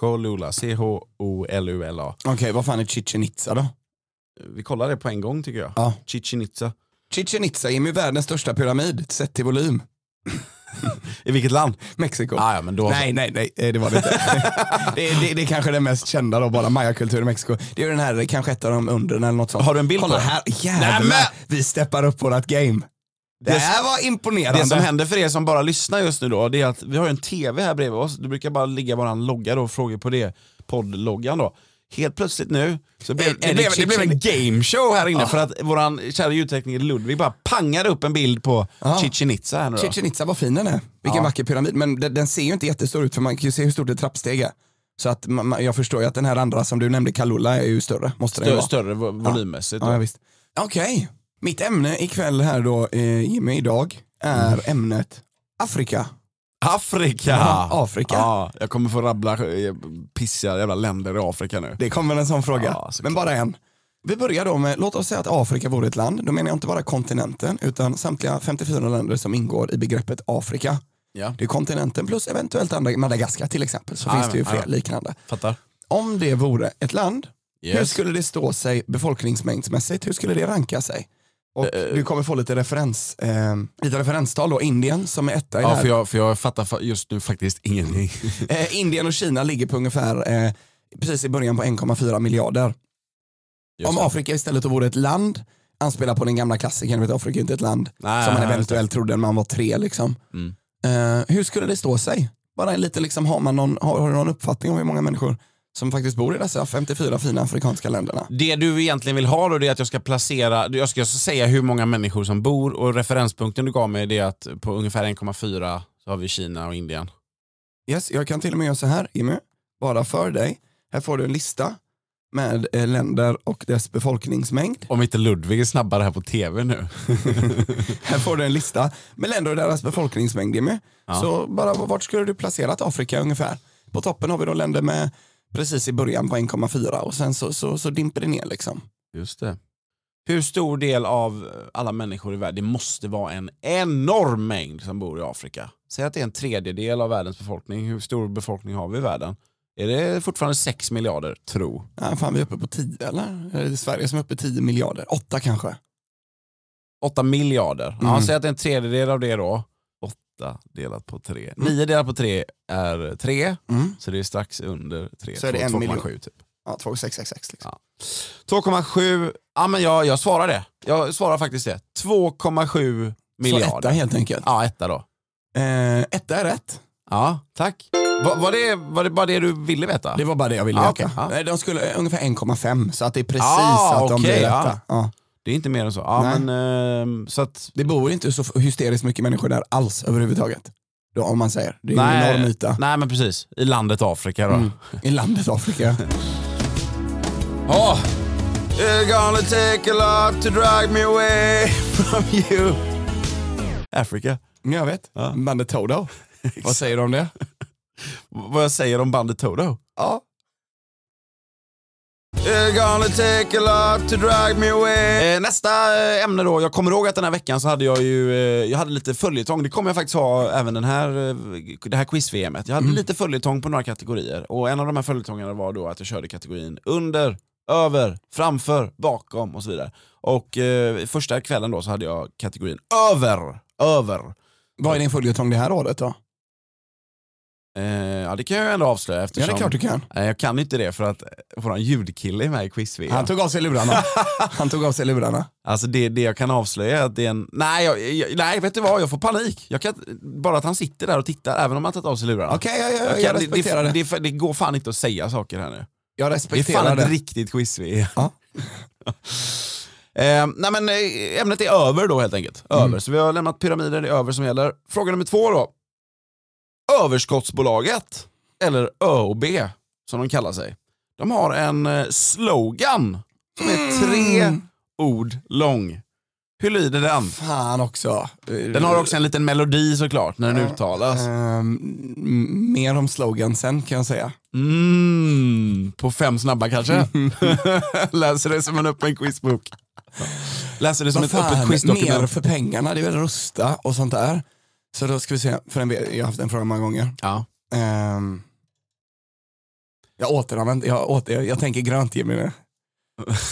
Cholula, C-H-O-L-U-L-A.
Okej, vad fan är Chichen Itza då?
Vi kollar det på en gång tycker jag.
Ja.
Chichen Itza.
Chichen Itza är ju världens största pyramid, sett till volym. [laughs]
I vilket land?
Mexiko.
Ah, ja, men då...
Nej, nej, nej, eh, det var det inte.
[laughs]
det, är- det, det är kanske den mest kända då, bara mayakultur i Mexiko. Det är ju den här, eh, kanske ett av de undren eller något sånt.
Har du en bild
Kolla
på det?
här,
Nej,
jävlar.
men-
Vi steppar upp vårat game. Det
Det-
här var imponerande.
Det som händer för er som bara lyssnar just nu då, det är att vi har ju en TV här bredvid oss. Du brukar bara ligga våran logga då, frågor på det, poddloggan då. Helt plötsligt nu så blev,
Är- är
det,
det
blev, det
Eh, Chichen-
blev en gameshow här inne för att våran kära ljudtekniker Ludvig bara pangade upp en bild på
Ja.
Chichen Itza här nu då.
Chichen Itza, vad fin den är. Vilken
Ja.
vacker pyramid. Men den, den ser ju inte jättestor ut för man kan ju se hur stort ett trappsteg är. Så att man, man, jag förstår ju att den här andra som du nämnde, Kalula, är ju större. Måste den ju
Större,
vara.
större vo- volymmässigt. då.
Ja, ja, visst. Okej, mitt ämne ikväll här då, eh, Jimmy, idag är ämnet Afrika.
Mm. Afrika!
Ja, Afrika.
Ja, jag kommer få rabbla eh, pissiga jävla länder i Afrika nu.
Det kommer en sån fråga,
Ja, såklart.
men bara en. Vi börjar då med, låt oss säga att Afrika vore ett land. Då menar jag inte bara kontinenten, utan samtliga 54 länder som ingår i begreppet Afrika.
Ja,
Det är kontinenten plus eventuellt andra, Madagaskar till exempel, så
Ja,
finns det ju
ja,
fler
ja.
liknande.
fattar.
Om det vore ett land, hur
Yes.
skulle det stå sig befolkningsmängdsmässigt? Hur skulle det ranka sig? Och
Eh,
du kommer få lite, referens, eh, lite referenstal då, Indien som är etta i det
Ja,
här.
för jag, för jag fattar fa- just nu faktiskt ingenting.
Eh, Indien och Kina ligger på ungefär eh, precis i början på 1,4 miljarder.
Just
Om
det.
Afrika istället vore ett land, anspelar på den gamla klassikern, du vet Afrika är inte ett land,
Nej,
som man
nej,
eventuellt trodde när man var tre. Liksom.
Mm.
Eh, hur skulle det stå sig? Bara en liten, liksom, har, man någon, har, har du någon uppfattning om hur många människor som faktiskt bor i dessa 54 fina afrikanska länderna?
Det du egentligen vill ha då det är att jag ska placera, jag ska säga hur många människor som bor och referenspunkten du gav mig det är att på ungefär 1,4 så har vi Kina och Indien.
Yes, jag kan till och med göra så här, Jimmy, bara för dig. Här får du en lista med eh, länder och dess befolkningsmängd.
Om inte Ludvig är snabbare här på tv nu.
Här får du en lista med länder och deras befolkningsmängd Jimmy. Så bara vart skulle du placerat Afrika ungefär? På toppen har vi då länder med precis i början på 1,4 och sen så, så, så dimper det ner liksom.
Just det. Hur stor del av alla människor i världen, det måste vara en enorm mängd som bor i Afrika. Säg att det är en tredjedel av världens befolkning, hur stor befolkning har vi i världen? Är det fortfarande 6 miljarder, tro?
Ja, fan, vi är uppe på 10 eller? Är det Sverige som är uppe i 10 miljarder? 8 kanske?
8 miljarder. Ja,
Mm.
säg att det är en tredjedel av det då. 8 delat på 3. 9 delat på 3 är 3.
Mm.
Så det är strax under 3.
Så är det
Två-
en
2,7 typ.
Ja, 2,666 liksom.
2,7. Ja men jag, jag svarar det. Jag svarar faktiskt det. 2,7
Så etta
miljarder.
helt enkelt.
Ja, etta då.
Eh, etta är rätt.
Ja, tack. Va, var, det, var det bara det du ville veta?
Det var bara det jag ville
Ja,
veta.
okej, ja.
Nej, De skulle eh, ungefär 1,5 så att det är precis
Ah,
att de
okej,
blir
ja.
rätta. Ja.
Det är inte mer än så. Ja,
Nej.
men, ehm, så att,
Det bor ju inte så f- hysteriskt mycket människor där alls överhuvudtaget. Då, om man säger. Det är ju en enorm yta. Mm.
nej men precis. I landet Afrika då.
I landet [laughs] Afrika.
Oh. It's gonna take a lot to drag me away from you. Afrika.
Men Mm, jag vet. Bandet Toto. Vad säger du om det?
Vad jag säger om bandet Toto?
Ja.
It's gonna take a lot to drag me away. Eh, nästa eh, ämne då. Jag kommer ihåg att den här veckan så hade jag ju eh, jag hade lite följetong. Det kommer jag faktiskt ha även den här, eh, det här Mm. quiz-VMet. Jag hade lite följetong på några kategorier och en av de här följetongarna var då att jag körde kategorin under över, framför, bakom och så vidare. Och eh, första kvällen då så hade jag kategorin över, över.
Vad är din följetong det här året då?
Eh, ja det kan jag ju ändå avslöja
Ja
eftersom...
det är klart du kan.
Nej, jag kan inte det för att eh, våran ljudkille är med i quiz
Han tog av sig [laughs] lurarna. Han tog av sig lurarna.
Alltså det, det jag kan avslöja är att det är en... Nej, jag, jag, nej, vet du vad? Jag får panik. Jag kan... Bara att han sitter där och tittar, även om han tagit av sig lurarna.
Okej, jag, jag, jag,
Jag kan- det-
respekterar det.
det, det. Det går fan inte att säga saker här nu.
Jag
Det är fan
respekterar
ett
det.
riktigt quiz vi är.
Ja.
[laughs] Eh, nej men eh, ämnet är över då helt enkelt. Över. Så vi har lämnat pyramider, det är över som gäller. Fråga nummer två då. Överskottsbolaget, eller ÖoB som de kallar sig. De har en eh, slogan som är tre ord lång. Hur lyder den?
Fan också.
Den har också en liten melodi såklart när den uttalas.
Ehm, mer om slogansen kan jag säga.
Mm, på fem snabba [laughs] kanske? Läser det som en öppen quizbok. Läser det som
Vad
ett öppet
fan, mer
quizdokument.
för pengarna, det är väl rusta och sånt där. Så då ska vi se, för den, vet- jag har haft den frågan många gånger.
Ja.
Ehm, jag återanvänder, jag, åter, jag, jag tänker grönt Jimmy
[laughs]
nu.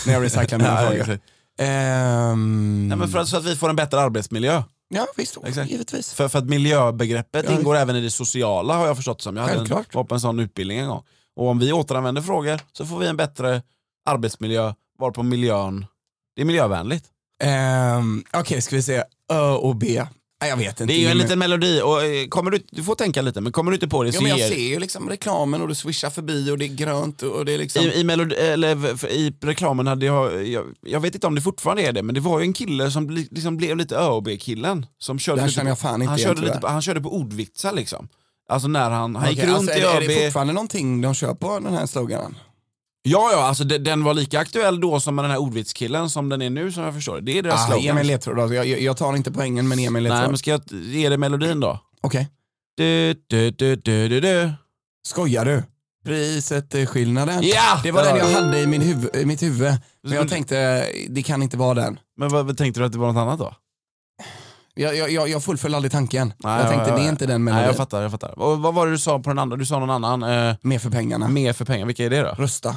När jag recyclar mina
Ja,
frågor.
exakt.
Ehm,
Nej, men för att, så att vi får en bättre arbetsmiljö.
ja visst,
Exakt.
givetvis.
För, för att miljöbegreppet
Ja.
ingår även i det sociala har jag förstått som. Jag hade en,
Självklart.
var på en sån utbildning en gång. Och om vi återanvänder frågor så får vi en bättre arbetsmiljö varpå miljön, det är miljövänligt.
Ehm, Okej, ska vi se. Ö och B. Nej, jag vet inte.
Det är ju en
Jimmy.
liten melodi och eh, kommer du, du får tänka lite men kommer du inte på det
Jo,
så
men jag
ger-
ser ju liksom reklamen och du swishar förbi och det är grönt och och det är liksom...
I, i, melod- eller, v- för- I reklamen hade jag, jag, jag vet inte om det fortfarande är det, men det var ju en kille som bli, liksom blev lite ÖoB-killen. Som körde
Det här
lite,
känner jag fan inte
han,
igen,
körde
tyvärr.
lite, han körde på ordvitsar liksom. Alltså när han, han gick
Okej,
runt
alltså,
i
är,
ÖoB.
det- är det fortfarande någonting de kör på den här sloganen?
Ja, ja, alltså de, den var lika aktuell då som den här ordvitskillen som den är nu som jag förstår det. Det är deras
Ah,
slogan.
ge mig en ledtråd då. Jag, jag- jag tar inte poängen men ge mig en
Nej,
ledtråd.
men ska jag t- ge dig melodin då?
Okej.
Du, du, du, du, du, du.
Skojar du? Priset är skillnaden.
Ja! Mm.
Det var
där
den jag
det.
hade i, min huv- i mitt huvud. Men jag tänkte, det kan inte vara den.
Men vad, vad tänkte du att det var något annat då?
Jag, jag, jag, jag fullföljde aldrig tanken.
Nej,
jag
ja,
tänkte,
ja,
det
ja.
är inte den
Nej,
melodin.
jag fattar, jag fattar. Och, vad var det du sa på den andra? Du sa någon annan, eh,
Mer för pengarna.
mer för pengar. Vilka är det då?
Rösta.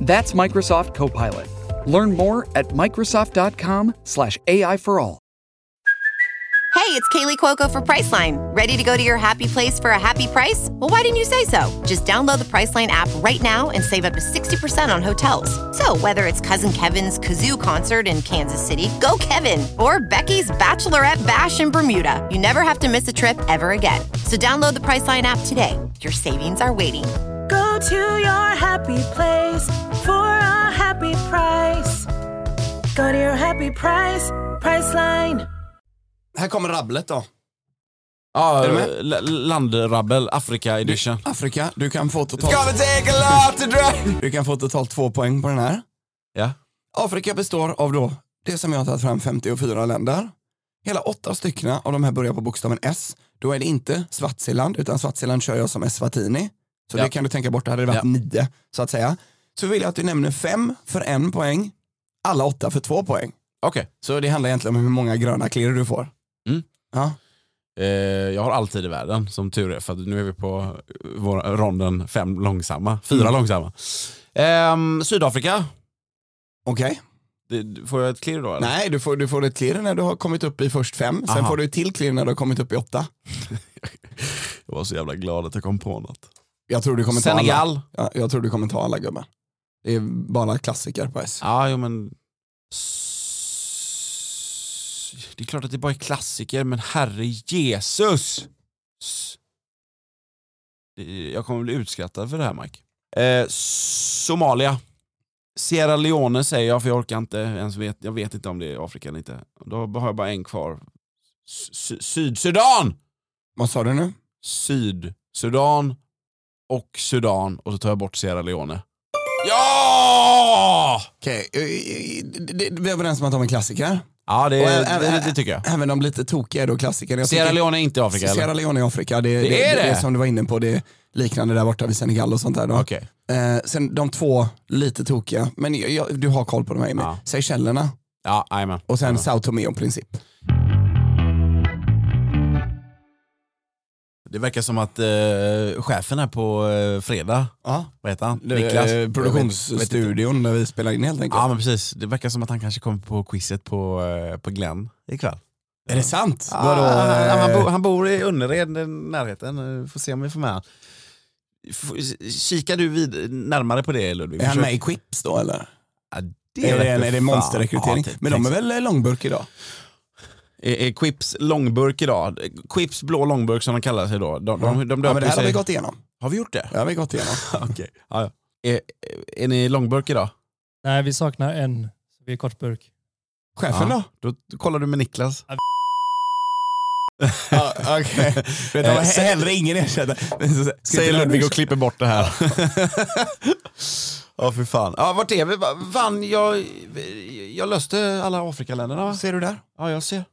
That's Microsoft Copilot. Learn more at Microsoft.com/slash AI for all.
Hey, it's Kaylee Cuoco for Priceline. Ready to go to your happy place for a happy price? Well, why didn't you say so? Just download the Priceline app right now and save up to 60% on hotels. So, whether it's Cousin Kevin's Kazoo concert in Kansas City, go Kevin, or Becky's Bachelorette Bash in Bermuda, you never have to miss a trip ever again. So, download the Priceline app today. Your savings are waiting.
Go to your happy place for a happy price. Go to your happy price, Priceline.
Här kommer rabblet då.
Ja,
Är du
l- landrabbel, Afrika edition.
Afrika, du kan få
It's
totalt,
gonna take a lot to drive.
du kan få totalt två poäng på den här.
Ja.
Afrika består av då det som jag har tagit fram 54 länder. Hela åtta stycken av de här börjar på bokstaven S. Då är det inte Swaziland utan Swaziland kör jag som Eswatini. Så
Ja.
det kan du tänka bort, det hade det varit
Ja.
nio så att säga. Så vill jag att du nämner fem för en poäng, alla åtta för två poäng.
Okej.
Så det handlar egentligen om hur många gröna klirr du får.
Mm.
Ja.
Eh, jag har alltid i världen som tur är för att nu är vi på eh, vår, ronden fem långsamma, fyra
Mm.
långsamma. Ehm, Sydafrika,
Okej.
Det- får jag ett klirr då? Eller?
Nej, du får, du får ett klirr när du har kommit upp i först fem, sen
Aha.
får du ett till klirr när du har kommit upp i åtta.
Jag var så jävla glad att jag kom på något.
Jag tror du kommer ta alla.
Senegal,
Ja, jag tror du kommer ta alla gubben. Det är bara klassiker på S.
ja jo men... S- Det är klart att det bara är klassiker men herre Jesus! S- Det- Jag kommer bli utskrattad för det här Mike. Eh, Somalia. Sierra Leone säger jag för jag orkar inte ens vet, jag vet inte om det är Afrika eller inte. Då har jag bara en kvar. S- Sy- Sydsudan!
Vad sa du nu?
Sydsudan och Sudan och så tar jag bort Sierra Leone. Ja!
Okej, eh, eh, det- det- vi är överens om att de är klassiker.
Ja, det,
Och ä-
det,
ä-
det, tycker jag.
Även de lite tokiga är då klassiker. Jag
Sierra
tycker-
Leone är inte i Afrika
Sierra
eller?
Leone i Afrika, det,
Det är det.
som du var inne på, det är liknande där borta vid Senegal och sånt där. Då.
Okej.
Eh, sen de två lite tokiga, men jag, jag, du har koll på de här Emil.
Ja.
Seychellerna
Ja, jajamän.
och sen Sao Tomé och princip.
Det verkar som att eh, chefen här på eh, fredag,
Ja.
vad heter han?
Eh, Produktionsstudion där vi spelar in helt enkelt.
Ja men precis, det verkar som att han kanske kommer på quizet på, eh, på Glenn ikväll.
Är det sant?
Ah,
Vadå,
han, han,
eh,
bo, han bor i Önnered, i närheten. Eh, Får se om vi får med han. F- Kikar du vid, närmare på det Ludvig?
är han
Försök-
med i Quips då eller?
Ja,
Är det,
vet
en,
du
är det
fan.
monsterrekrytering?
Ja, typ,
men de är
tänk-
väl långburk idag?
Är, är Quips långburk idag? Quips blå långburk som de kallar sig då. De, de, de
Ja, men
döper
det här har
sig...
vi gått igenom.
Har vi gjort det?
Det har vi gått igenom.
[laughs] Okej. Ja, ja. Är, är ni långburk idag?
Nej, vi saknar en. Vi är kortburk.
Chefen då?
Ja. då? Då kollar du med Niklas.
Ja, Okej.
[laughs]
[laughs]
Eh,
Vet du vad, he- Hellre ingen ersättare.
Säger Ludvig och klipper bort det här. [laughs] Ja, för fan. Ja, vart är vi? Va- Vann jag... Jag löste alla Afrikaländerna, va?
Ser du där?
Ja, jag ser.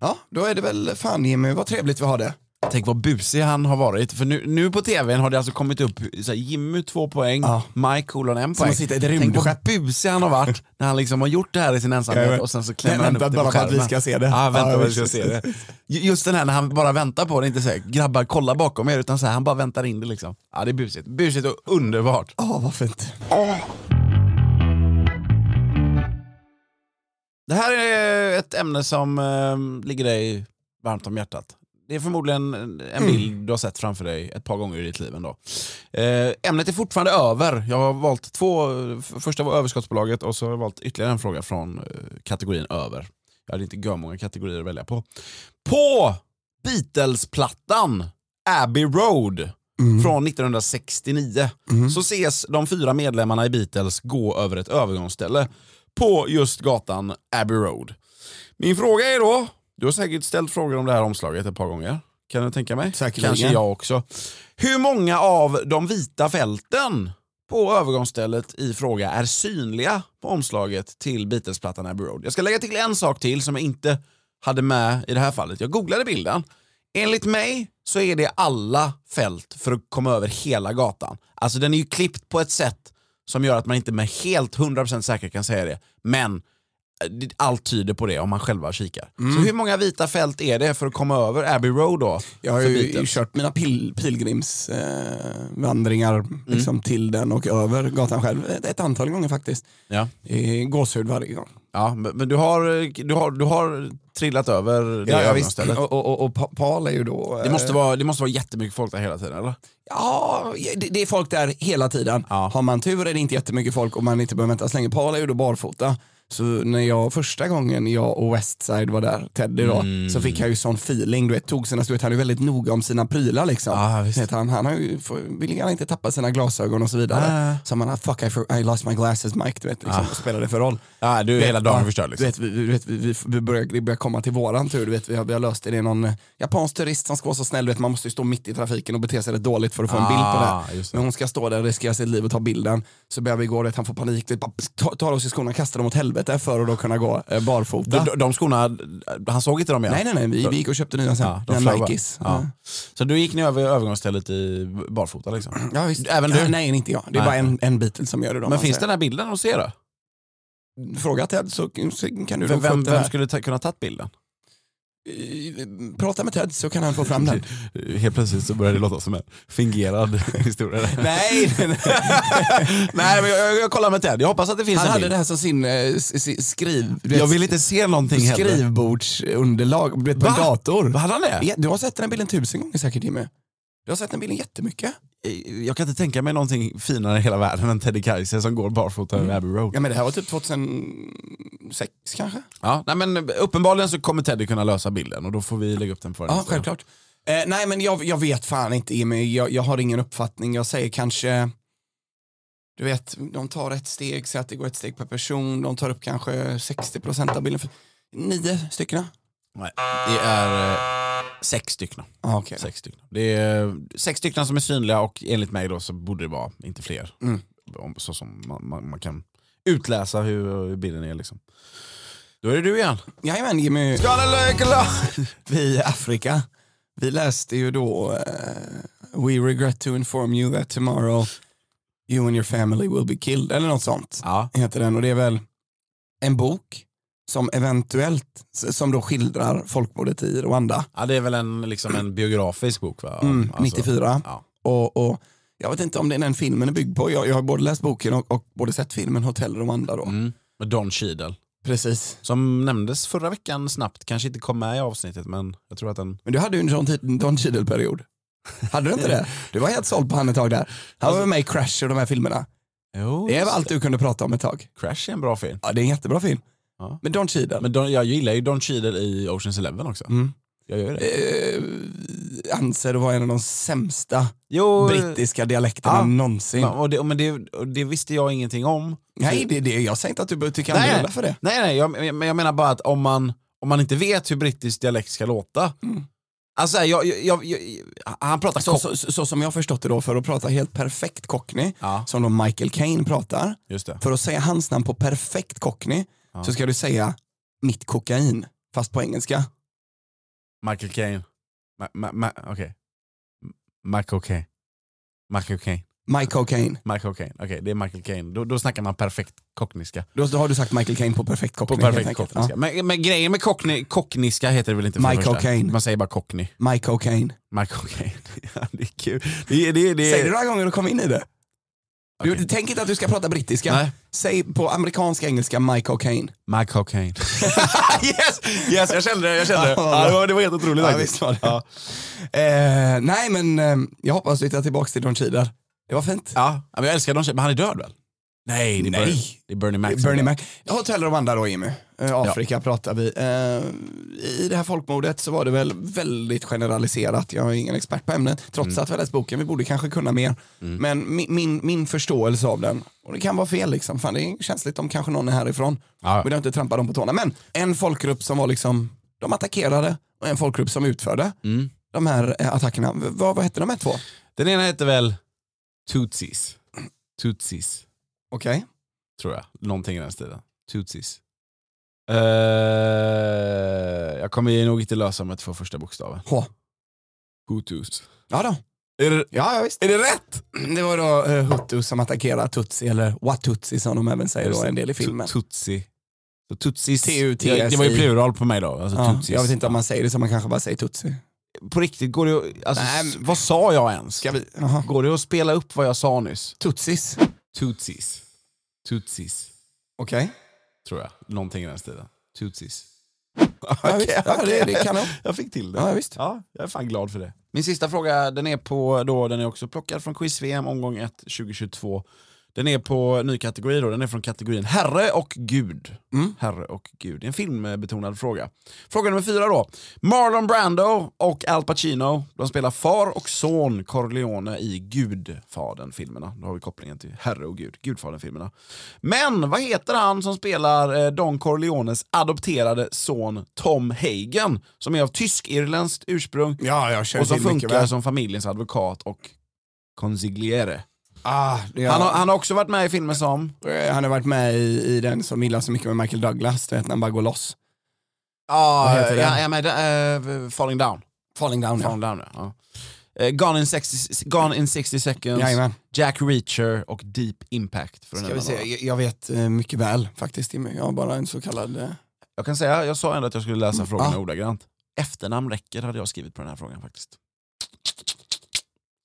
Ja, då är det väl fan Jimmy, vad trevligt vi har det.
Tänk vad busig han har varit. För nu, nu på tvn har det alltså kommit upp så här, Jimmy två poäng,
Ja.
Mike kolon en
Som
poäng.
att sitta i ett
Tänk vad
rymdskepp.
busig han har varit [laughs] när han liksom har gjort det här i sin
Jag
ensamhet
vet.
och sen så klämmer
Jag
han upp
väntar
det på
bara på att
skärmen.
vi ska se det.
Ja, vänta
Ja,
på att vi ska
visst.
se det. Ju- Just den här när han bara väntar på det, inte säger grabbar kolla bakom er, utan så här, han bara väntar in det liksom. Ja det är busigt. Busigt och underbart.
[laughs] Ja, vad fint.
Det här är ett ämne som eh, ligger dig varmt om hjärtat. Det är förmodligen en- en bild du har sett framför dig ett par gånger i ditt liv ändå. Eh, ämnet är fortfarande över. Jag har valt två, f- första var överskottsbolaget och så har jag valt ytterligare en fråga från eh, kategorin över. Jag hade inte många kategorier att välja på. På Beatles-plattan Abbey Road från 1969 så ses de fyra medlemmarna i Beatles gå över ett övergångsställe på just gatan Abbey Road. Min fråga är då, du har säkert ställt frågor om det här omslaget ett par gånger. Kan du tänka mig?
Säkerligen.
Kanske jag också. Hur många av de vita fälten på övergångsstället i fråga är synliga på omslaget till Beatlesplattan Abbey Road? Jag ska lägga till en sak till som jag inte hade med i det här fallet. Jag googlade bilden. Enligt mig så är det alla fält för att komma över hela gatan. Alltså den är ju klippt på ett sätt som gör att man inte med helt 100% säkerhet kan säga det. Men eh, allt tyder på det om man själva kikar. Så hur många vita fält är det för att komma över Abbey Road då?
Jag har
för
ju
Beatles?
kört mina pil, pilgrimsvandringar
Mm.
liksom till den och över gatan själv eh, ett, ett antal gånger faktiskt.
Ja.
Eh, Gåshud varje gång.
Ja, men men du har, du har, du har trillat över det
Ja, ja, visst.
övergångsstället.
Och, och, och, och Pa- Paul är ju då...
Det
eh,
måste, vara, det måste vara jättemycket folk där hela tiden eller?
Ja, det, det är folk där hela tiden.
Ja.
Har man tur är det inte jättemycket folk och man inte behöver vänta så länge. Paul är ju då barfota. Så när jag första gången jag och Westside var där, Teddy då,
Mm.
så fick han ju sån feeling. Du vet, tog sina, du vet, han är ju väldigt noga om sina prylar liksom.
Ja, visst.
Vet han, han har ju, får- vill gärna inte tappa sina glasögon och så vidare.
Ah.
Så man, "Ah, fuck I, for, I lost my glasses Mike, du vet, liksom, vad spelar det för roll?
Ja, du
Vet-
hela dagen
ja,
förstörd
Du
liksom.
vet, vi, vi- du vet, vi, vi, vi börjar, det börjar komma till våran tur, du vet, vi, har, vi har löst det. Det är någon eh, japansk turist som ska vara så snäll, du vet, man måste ju stå mitt i trafiken och bete sig rätt dåligt för att få en bild på det.
Ah,
här.
just det.
Men hon ska stå där och riskera sitt liv och ta bilden. Så börjar vi gå, du vet, han får panik, du vet, bara ta- tar oss i skorna och kastar dem åt helvete för att då kunna gå eh, barfota.
De, de skorna, han såg inte dem igen?
nej, nej, nej, vi, vi gick och köpte nya sen.
Ja, de
nya
flög bara.
Nikes.
Ja. Så du gick ni över övergångsstället i barfota [clears throat] liksom?
Ja, visst.
Även du?
Ja, nej, inte jag. Det är
Nej.
bara en, en Beatle som gör det. Då, om
Men
man
finns
säger.
den här bilden att se då?
Fråga Ted så, så kan
Vem,
du nog få
vem,
upp den
vem
här.
skulle ta, kunna tagit bilden?
Eh, Prata med Ted så kan han få
[laughs]
fram den.
Helt plötsligt så började det låta som en fingerad historia. [laughs]
Nej, nej, nej.
nej men jag, jag, jag kollar med Ted, jag hoppas att det finns
Han
en
hade
bild.
det här som sin eh, s- s- skriv... du vet,
Jag vill inte se någonting heller.
Skrivbordsunderlag du vet, på en
Va?
dator.
Vad Hade han det?
Ja, Du har sett den här bilden tusen gånger säkert Jimmy. Du har sett den bilden jättemycket.
Eh, jag kan inte tänka mig någonting finare i hela världen än Teddy Kaiser som går barfota över Abbey Road.
Mm. Ja men det här var typ 2006 kanske?
Ja, nej, men eh, uppenbarligen så kommer Teddy kunna lösa bilden och då får vi lägga upp den för
Ja,
nästa gång.
självklart. Eh, nej men jag, jag vet fan inte Jimmy, jag, jag har ingen uppfattning. Jag säger kanske, du vet, de tar ett steg, säg att det går ett steg per person, de tar upp kanske 60% av bilden. För, nio stycken?
Nej, det är eh, sex stycken.
Ah, okay.
Sex stycken. Det är eh, sex stycken som är synliga och enligt mig då så borde det vara inte fler.
Mm.
om- så som man, man, man kan utläsa hur, hur bilden är. Liksom. Då är det du igen.
Jajamän Jimmy.
Skål eller glad?
Vi i Afrika, vi läste ju då eh, We regret to inform you that tomorrow you and your family will be killed, eller något sånt.
Ja.
Heter den och det är väl en bok som eventuellt, s- som då skildrar folkmordet i Rwanda.
ja, det är väl en, liksom en biografisk bok va?
Mm,
Alltså,
94.
Ja.
Och, och jag vet inte om det är den filmen är byggd på. Jag, jag har både läst boken och, och både sett filmen Hotell Rwanda då.
Mm. Med Don Cheadle.
Precis.
Som nämndes förra veckan snabbt, kanske inte kom med i avsnittet men jag tror att den...
Men du hade ju en sån tid- Don Cheadle-period. Hade du
[laughs]
inte det? Du var helt såld på han ett tag där. Han var med i Crash och de här filmerna.
Jo,
Det
just
var allt du kunde prata om ett tag.
Crash är en bra film.
Ja, det är en jättebra film.
Ja.
Men Don Cheadle.
Men Don, jag gillar ju Don Cheadle i Oceans Eleven också.
Mm.
Jag gör det.
Eh, anser att vara en av de sämsta
Jo,
brittiska dialekterna
Ja.
någonsin.
Ah. Ja, och det, men det, och det visste jag ingenting om.
Nej, det, det, jag säger inte att du behöver tycka
Nej.
annorlunda för det.
Nej, nej jag, men jag menar bara att om man, om man inte vet hur brittisk dialekt ska låta. Alltså, jag, jag, jag, jag, han pratar
Så,
kock.
Mm. Alltså, så, så, så som jag har förstått det då, för att prata helt perfekt cockney,
Ja,
som då Michael Caine pratar,
just det.
för att säga hans namn på perfekt cockney
Ja.
så ska du säga mitt kokain, fast på engelska.
Michael Caine. Ma, ma, ma, Okej. M- Michael Caine. Michael Caine.
My cocaine.
Michael Caine. Okej, det är Michael Caine. Då, då snackar man perfekt kockniska.
Då, då har du sagt Michael Caine på perfekt
På
cockney. helt
perfekt
enkelt.
kockniska. Men, men grejen med kockni, kockniska heter det väl inte för
Michael
det första?
Caine.
Man säger bara kockni.
Ja. My cocaine.
Michael Caine. [laughs] Ja, det är kul. Det, är- det, är- det, är-
Säg det några gånger och kom in i det. Du,
Okej.
Tänk inte att du ska prata brittiska.
Nej.
Säg på amerikanska engelska my cocaine.
My cocaine. [laughs] yes! yes, jag kände det. Jag kände det. Ja, det, var, det var helt otroligt
Ja,
faktiskt.
visst var det.
Ja.
Eh, nej men eh, jag hoppas vi hittar tillbaka till Don Cheadle. Det var fint.
Ja, men jag älskar Don Cheadle, men han är död väl? Nej, det är,
Nej.
Bernie, det är Bernie Mac. som är
Bernie
död.
Mac. Hotell Rwanda då Jimmy. Eh, Afrika pratar vi. Eh, I det här folkmordet så var det väl väldigt generaliserat. Jag är ingen expert på ämnet. Trots att vi har läst boken, vi borde kanske kunna mer. Men min, min, min förståelse av den, och det kan vara fel liksom. Fan, det är känsligt om kanske någon är härifrån.
Ja.
Vill jag inte trampa dem på tårna. Men en folkgrupp som var liksom, de attackerade och en folkgrupp som utförde de här eh, attackerna. V- vad, vad hette de här två?
Den ena heter väl Tootsies. Tootsies,
Okej.
tror jag. Någonting i den stilen. Tootsies. Eh, jag kommer ju nog inte lösa med två första bokstaven.
H.
Hutus.
Ja då.
Är det,
Ja, ja visst.
är det rätt?
Det var då eh, Hutu som attackerar Tutsi, eller Watutsi som de även säger då en del i filmen.
Tu- Tutsi. Så Tutsis.
T-U-T-S-I.
Ja, Det var ju plural på mig då. Alltså,
Ja,
tutsis.
jag vet inte om man säger det så man kanske bara säger Tutsi.
På riktigt, går det att, alltså,
Nej,
s- vad sa jag ens?
Ska vi? Jaha.
Går det att spela upp vad jag sa nyss?
Tutsis.
Tutsis. Tutsis,
Okej.
tror jag. Någonting i den stilen. Tutsis.
Ja,
[laughs]
visst.
Okej,
Ja,
okej.
det, det kan jag.
Jag fick till det.
Ja, visst.
Ja, jag är fan glad för det. Min sista fråga, den är, på, då, den är också plockad från quiz-VM omgång 1 2022. Den är på ny kategori då, den är från kategorin Herre och Gud. Herre och Gud, det är en filmbetonad fråga. Fråga nummer fyra då. Marlon Brando och Al Pacino, de spelar far och son Corleone i Gudfadern-filmerna. Då har vi kopplingen till Herre och Gud, Gudfadern-filmerna. Men vad heter han som spelar eh, Don Corleones adopterade son Tom Hagen, som är av tysk-irländskt ursprung
Ja, jag känner
och som
till mycket
funkar
väl.
som familjens advokat och konsigliere.
Ah, det,
Han, har, han har också varit med i filmer som...
eh, han har varit med i, i den som gillar så mycket med Michael Douglas, du vet när han bara går loss.
Ja,
heter den?
jag är med eh, Falling Down.
Falling down ja.
Falling Down ja. ja. Eh, Gone, in 60, Gone in 60 seconds,
Jajamän.
Jack Reacher och Deep Impact. För att
Ska
nämna
vi se,
några.
jag, jag vet eh, mycket väl faktiskt Jimmy. Jag har bara en så kallad... eh,
Jag kan säga, jag sa ändå att jag skulle läsa frågorna
Ja.
ordagrant. Efternamn räcker hade jag skrivit på den här frågan faktiskt.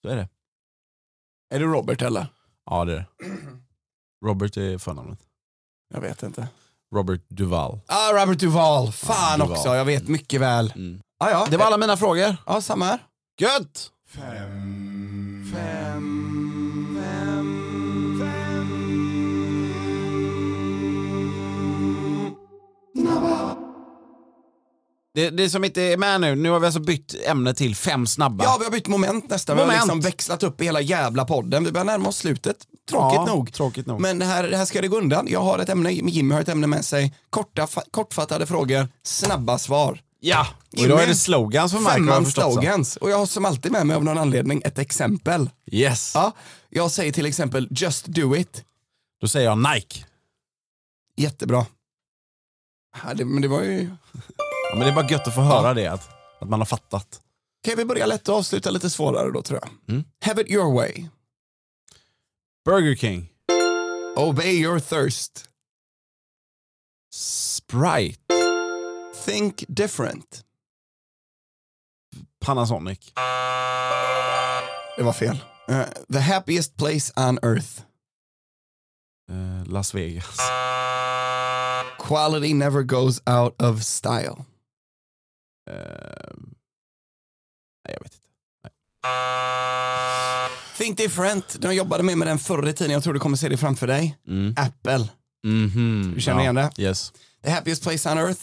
Så är det.
Är det Robert eller?
Ja [clears throat] det är det. Robert är förnamnet.
Jag vet inte.
Robert Duval.
Ah, Robert Duval. Fan
Duvall.
också, jag vet mycket väl.
Mm.
Ah, ja.
Det var alla mina frågor.
Ja, samma här.
Gött! Det, det som inte är med nu, nu har vi alltså bytt ämne till fem snabba.
Ja, vi har bytt moment nästan. Vi har
Moment.
liksom växlat upp i hela jävla podden. Vi börjar närma oss slutet. Tråkigt
Ja,
nog.
tråkigt nog.
Men det här, det här ska det gå undan. Jag har ett ämne, Jimmy har ett ämne med sig. Korta, fa- kortfattade frågor, snabba svar.
Ja, och idag är det slogans för Michael. har jag
Femman
förstått, så.
slogans. Och jag har som alltid med mig av någon anledning ett exempel.
Yes.
Ja, jag säger till exempel just do it.
Då säger jag Nike.
Jättebra. Ja, det, men det var ju...
Ja, men det är bara gött att få höra det, att, att man har fattat.
Kan vi börja lätt och avsluta lite svårare då tror jag.
Mm.
Have it your way.
Burger King.
Obey your thirst.
Sprite.
Think different.
Panasonic.
Det var fel. Eh, the happiest place on earth.
Eh, Las Vegas.
Quality never goes out of style.
Eh, nej, jag vet inte. Nej.
Think different. De jobbade med, med den förr i tiden. Jag tror du kommer se det framför dig.
Mm.
Apple.
Mhm,
Du känner igen det?
Yes.
The happiest place on earth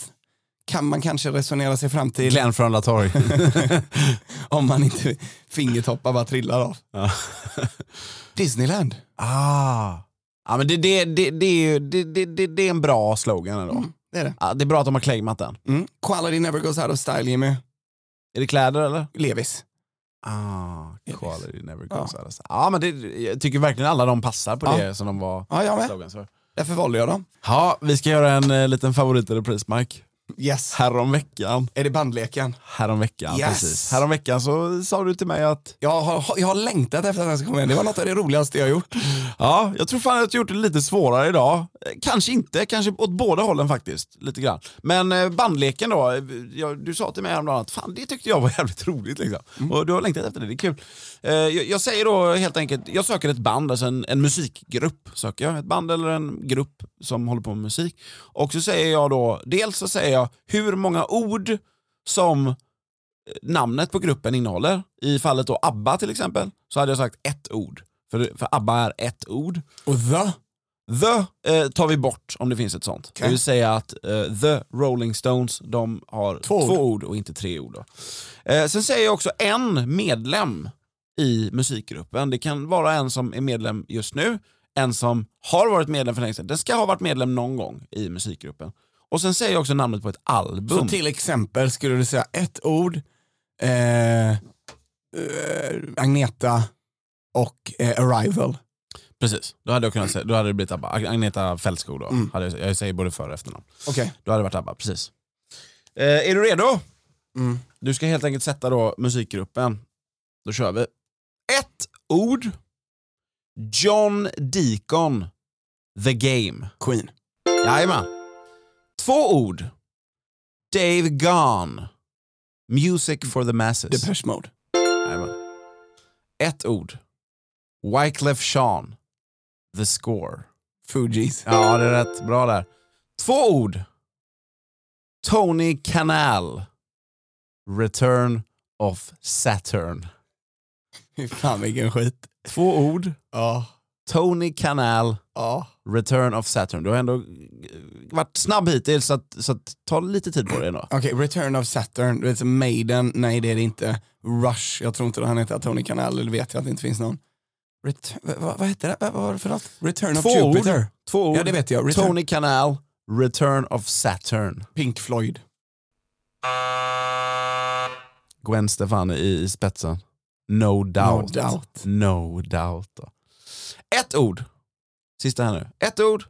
kan man kanske resonera sig fram till
Glenn Frölunda [laughs] Torg.
[laughs] om man inte fingertoppar bara trillar av.
Ja.
Disneyland.
ah. Ja, men det, det, det, det, är ju- det, det, det, det är en bra slogan ändå.
Det är det.
Ja, det är bra att de har claimat den.
Mm. Quality never goes out of style, Jimmy.
Är det kläder eller?
Levis.
Ah,
Yes.
quality never
Ja.
goes out of style. Ja, men det, jag tycker verkligen alla de passar på
Ja.
det som de var
Ja, jag med.
slogans för.
Därför valde jag dem.
Ja, vi ska göra en eh, liten favorit eller repris, Mike.
Yes.
Häromveckan.
Är det bandleken?
Häromveckan,
Yes.
precis. Häromveckan så sa du till mig att,
Jag har, jag har längtat efter att den ska komma igen. Det var något av det roligaste jag har gjort.
ja, jag tror fan att jag gjort det lite svårare idag. Eh, Kanske inte, kanske åt båda hållen faktiskt. Lite grann. Men eh, bandleken då, eh, jag, du sa till mig häromdagen att fan det tyckte jag var [laughs] jävligt roligt liksom. Och du har längtat efter det, det är kul. Eh, jag, jag säger då helt enkelt, jag söker ett band, alltså en, en musikgrupp söker jag. Ett band eller en grupp som håller på med musik. Och så säger jag då, dels så säger jag hur många ord som namnet på gruppen innehåller. I fallet då ABBA till exempel så hade jag sagt ett ord. För, för ABBA är ett ord.
Och the?
The eh, tar vi bort om det finns ett sånt.
Okej.
Det vill säga att eh, The Rolling Stones de har två,
ord.
ord. och inte tre ord. Då. Eh, sen säger jag också en medlem i musikgruppen. Det kan vara en som är medlem just nu, en som har varit medlem för länge sedan. Den ska ha varit medlem någon gång i musikgruppen. Och sen säger jag också namnet på ett album.
Så till exempel skulle du säga ett ord, eh, eh, Agneta och eh, Arrival.
Precis, då hade jag kunnat säga, då hade det blivit ABBA. Ag- Agneta Fältskog då.
Mm.
Hade jag, jag säger både för och efternamn.
Okej.
Då hade det varit ABBA, precis. Eh, är du redo?
Mm.
Du ska helt enkelt sätta då musikgruppen. Då kör vi. Ett ord. John Deacon, The Game.
Queen.
Jajamän. Två ord. Dave Gone, Music for the Masses.
Depeche Mode.
Jajamän. Ett ord. Wyclef Jean, The Score.
Fugees.
Ja, det är rätt. Bra där. Två ord. Tony Canal. Return of Saturn.
Fy fan vilken skit.
Två ord.
Ja.
Tony Canal.
Ja.
Return of Saturn. Du har ändå eh, varit snabb hittills så, att, så att ta lite tid på dig ändå.
Okej, Return of Saturn. Du vet, Maiden. Nej, det är det inte. Rush. Jag tror inte han heter Tony Canal, eller vet jag att det inte finns någon. Retur- vad, vad vad heter det? Vad vad var det för något? Return of
Två
Jupiter.
ord. Två ord.
Ja, det vet jag. Return-
Tony Canal. Return of Saturn.
Pink Floyd.
Gwen Stefani i, i spetsen. No doubt.
No doubt.
No doubt då. Ett ord. Sista här nu. Ett ord.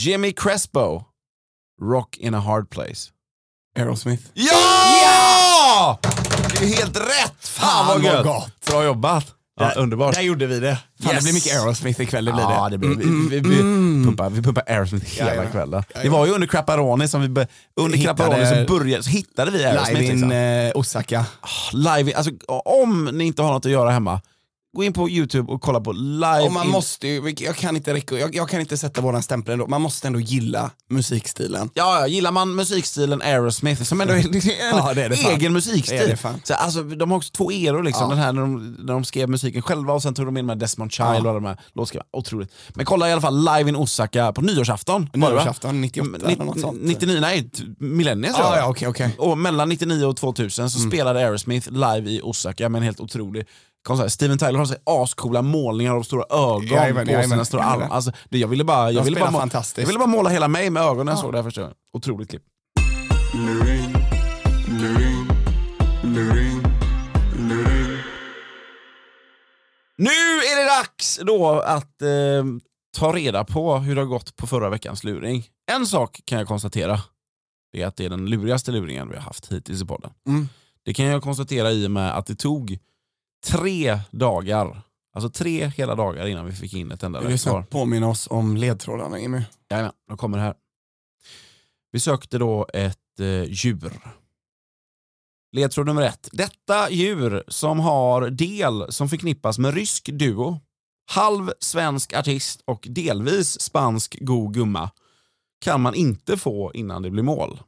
Jimmy Crespo. Rock in a hard place.
Aerosmith.
Ja! Det är helt rätt! Fan vad gött! Bra jobbat. Ja, underbart.
Där gjorde vi det. Fan, Det
Yes.
blir mycket Aerosmith ikväll, det blir
ja,
det.
det blir vi, vi, vi, pumpar, vi pumpar Aerosmith hela
Ja, ja.
kvällen.
Ja,
Det
ja.
var ju under Crapparoni som vi be, under
Hittade-
Crapparoni så, började, så hittade vi Aerosmith.
Live in
liksom.
eh, Osaka.
live, alltså, om ni inte har något att göra hemma, gå in på YouTube och kolla på live.
Och man
in-
måste ju, vilket- jag kan inte, reko- jag, jag kan inte sätta våran stämpel ändå, man måste ändå gilla musikstilen.
Ja, ja, gillar man musikstilen Aerosmith, som
[laughs]
ändå är det är en
Ja, det är det fan.
egen
Det är det
musikstil.
fan.
så, alltså, de har också två eror, liksom. den här när de, när de skrev musiken själva och sen tog de in med Desmond Child och alla de här låtskrivarna. Otroligt. Men kolla i alla fall live in Osaka på nyårsafton. var det, va?
Nyårsafton, 98 eller något sånt.
99, nej, t- millenniet tror
Ah,
jag.
ja, okej, okej. Mm.
Och mellan 99 och 2000 så spelade Aerosmith live i Osaka med en helt otrolig konsert. Steven Tyler har så här ascoola målningar av stora ögon
Jajamän,
på
jajamän,
sina stora
jajamän.
armar. Alltså, det, jag, ville bara, jag,
De
ville bara
spelar
må-
fantastiskt.
jag ville bara måla hela mig med ögonen när jag såg det här första gången. Otroligt klipp.
Luring,
dags då att eh, ta reda på hur det har gått på förra veckans luring. En sak kan jag konstatera. Det är att det är den lurigaste luringen vi har haft hittills i podden.
Mm.
Det kan jag konstatera i och med att det tog tre dagar, alltså tre hela dagar innan vi fick in ett enda
Vill du
rätt svar.
snabbt påminna oss om ledtrådarna Jimmy?
Jajamän, de kommer här. Vi sökte då ett eh, djur. Ledtråd nummer ett. Detta djur som har del som förknippas med rysk duo, halv svensk artist och delvis spansk god gumma kan man inte få innan det blir mål.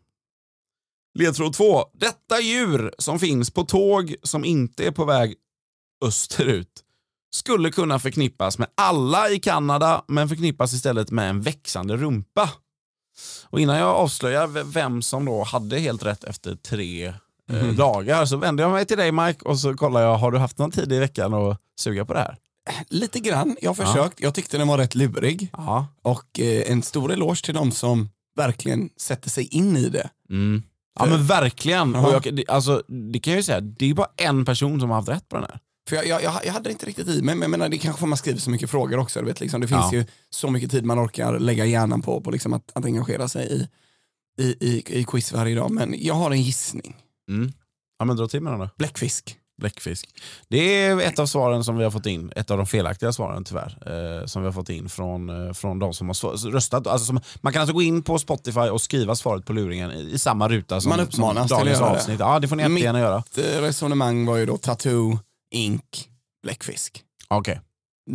Ledtråd två. Detta djur som finns på tåg som inte är på väg österut skulle kunna förknippas med alla i Kanada men förknippas istället med en växande rumpa. Och innan jag avslöjar v- vem som då hade helt rätt efter tre eh, dagar så vänder jag mig till dig Mike och så kollar jag, har du haft någon tid i veckan att suga på det här?
Lite grann, jag har försökt. Jag tyckte den var rätt lurig.
Ja.
Och eh, en stor eloge till de som verkligen sätter sig in i det.
Mm. Ja men verkligen. Och jag, det- alltså, det kan jag ju säga, det är ju bara en person som har haft rätt på den här.
För jag, jag, jag jag hade inte riktigt i mig, men jag menar, det är kanske för att man skriver så mycket frågor också. Du vet, liksom, det finns
Ja.
ju så mycket tid man orkar lägga hjärnan på, på liksom att, att engagera sig i, i, i, i quiz varje dag. Men jag har en gissning.
Mm. Ja men dra till med den då.
Bläckfisk.
Bläckfisk. Det är ett av svaren som vi har fått in, ett av de felaktiga svaren tyvärr, eh, som vi har fått in från, eh, från de som har svar- röstat. Alltså som, man kan alltså gå in på Spotify och skriva svaret på luringen i, i samma ruta som,
Man uppmanas
som
till
dagens
att göra det.
avsnitt. Ja, det får ni
Mitt-
jättegärna göra.
Ett eh, resonemang var ju då tattoo, ink, bläckfisk.
Okej.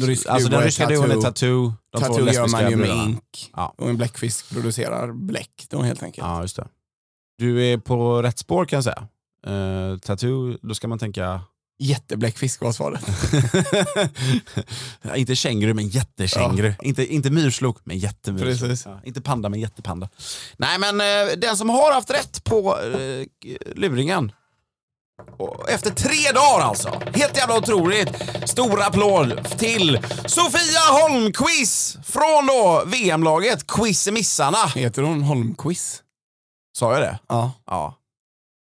Rysk
Alltså
duo
den
är
ryska duon är Tattoo, de två
Tattoo gör man
lesbiska
ju med
brudarna.
ink
Ja.
och en bläckfisk producerar bläck då helt enkelt.
Ja, just det. Du är på rätt spår kan jag säga. Eh, tattoo, då ska man tänka...
Jättebläckfisk var svaret.
Ja, [laughs] inte känguru, men jättekänguru. Inte, inte myrslok, men jättemyrslok.
Precis.
Ja, inte panda, men jättepanda. Nej, men eh, den som har haft rätt på eh, luringen. Och efter tre dagar alltså. Helt jävla otroligt. Stor applåd till Sofia Holmqvist från då VM-laget Quiz i missarna.
Heter hon Holmquiz?
Sa jag det?
Ja.
Ja.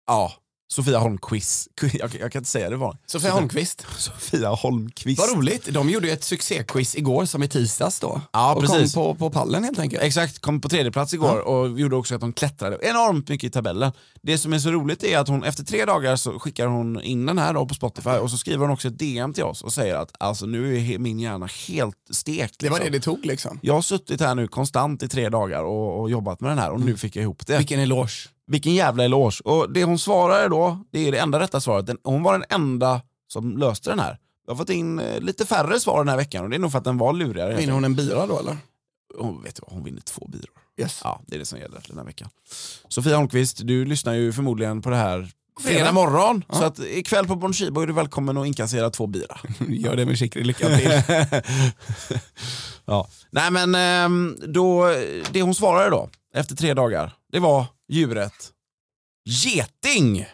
Ja. Sofia Holmqvist. [laughs] Jag, jag kan inte säga det var.
Sofia Holmqvist.
Sofia Holmqvist.
Vad roligt, de gjorde ju ett succéquiz igår som i tisdags då.
Ja,
och
precis.
kom på, på pallen helt enkelt.
Exakt, kom på tredje plats igår och gjorde också att de klättrade enormt mycket i tabellen. Det som är så roligt är att hon efter tre dagar så skickar hon in den här då på Spotify och så skriver hon också ett DM till oss och säger att alltså nu är he- min hjärna helt stekt.
Det var det
liksom.
det tog liksom.
Jag har suttit här nu konstant i tre dagar och, och jobbat med den här och nu fick jag ihop det.
Vilken eloge.
Vilken jävla eloge. Och det hon svarade då, det är det enda rätta svaret. Den, hon var den enda som löste den här. Jag har fått in eh, lite färre svar den här veckan och det är nog för att den var lurigare.
Vinner hon en bira då eller?
hon, vet du vad, hon vinner två biror.
Yes.
Ja, det är det som gäller den här veckan. Sofia Holmqvist, du lyssnar ju förmodligen på det här
Fredag.
fredag morgon.
Ja.
Så att ikväll på Bon Chibo är du välkommen att inkassera två bira.
[laughs] Gör det med skicklig lycka till.
[laughs] ja. Nej men ehm, då, det hon svarade då, efter tre dagar, det var djuret geting.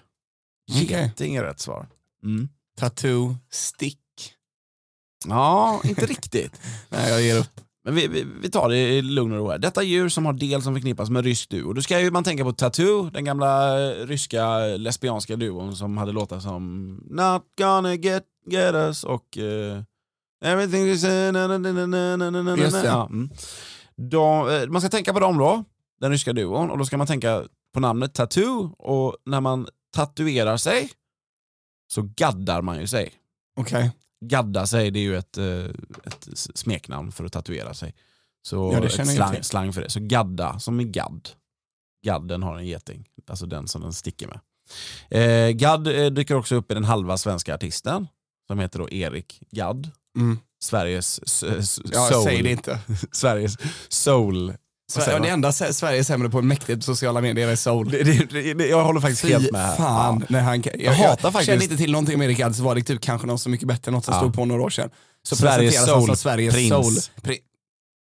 Okej.
Geting är rätt svar. Mm.
Tattoo, stick.
Ja, inte riktigt.
Nej jag ger upp.
Men vi, vi, vi tar det i lugn och ro här. Detta djur som har del som förknippas med rysk duo. Då ska ju man tänka på Tattoo, den gamla eh, ryska lesbianska duon som hade låtar som Not gonna get, get us och eh, Everything is... na, na, na, na, na, na, na, na,
Just det.
Ja, mm. de, eh, man ska tänka på dem då, den ryska duon, och då ska man tänka på namnet Tattoo och när man tatuerar sig så gaddar man ju sig.
Okej,
Gadda sig, det är ju ett, eh, ett s- smeknamn för att tatuera sig. Så
Ja, det
ett
känner jag
slang,
till.
slang för det. Så gadda, som i gadd. Gadden har en geting, alltså den som den sticker med. Eh, gadd eh, dyker också upp i den halva svenska artisten, som heter då Erik Gadd.
Mm.
Sveriges s- s-
ja,
soul.
säg det [laughs] inte.
Sveriges soul. Vad säger
Sver- det
man?
enda Sve- Sverige är sämre på mäktigt på sociala medier är soul.
Det, det, det, det, jag håller faktiskt
Fy
helt med. här.
fan.
Ja.
Nej, han, jag, jag
hatar
hatar faktiskt.
faktiskt-
känner inte till någonting om Erik Gadd så var det typ kanske någon så mycket bättre än något som
Ja.
stod på några år sedan. Så
Sveriges
presenteras han
soul,
som Sveriges
prins.
soul. Pri-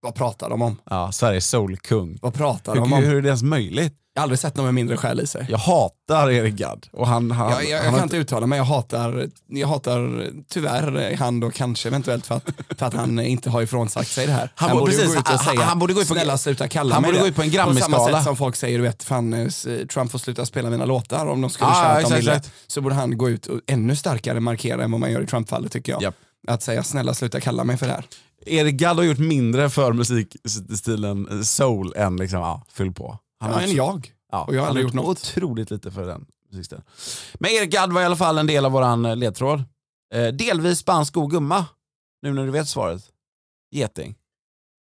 Vad pratar de om?
Ja, Sveriges soulkung.
Vad pratar de
Hur, hur
om?
är det ens möjligt?
Jag har aldrig sett någon med mindre själ i sig.
Jag hatar Erik Gadd. Och han, han,
Jag, jag,
han
jag
har
kan inte uttala mig, jag hatar, jag hatar tyvärr eh, han då kanske eventuellt för att, för att han eh, inte har ifrånsagt sig det här.
Han borde- precis, han- han borde gå ut på-
snälla sluta kalla
han
mig
borde
det.
gå ut på en
På
Grammy-skala.
samma sätt som folk säger, du vet, fan eh, s- Trump får sluta spela mina låtar om de skulle
Ah,
ah, köra att de
exakt,
ville.
exakt.
Så borde han gå ut och ännu starkare markera än vad man gör i Trump-fallet tycker jag.
Japp.
Att säga snälla sluta kalla mig för det här.
Erik Gadd har gjort mindre för musikstilen soul än liksom, ja, fyll på.
Ja,
har
men
också-
jag.
Ja,
Och jag har
han
aldrig gjort något.
otroligt lite för den musikstilen. Men Erik Gadd var i alla fall en del av våran eh, ledtråd. Eh, delvis spansk god gumma, nu när du vet svaret. Geting.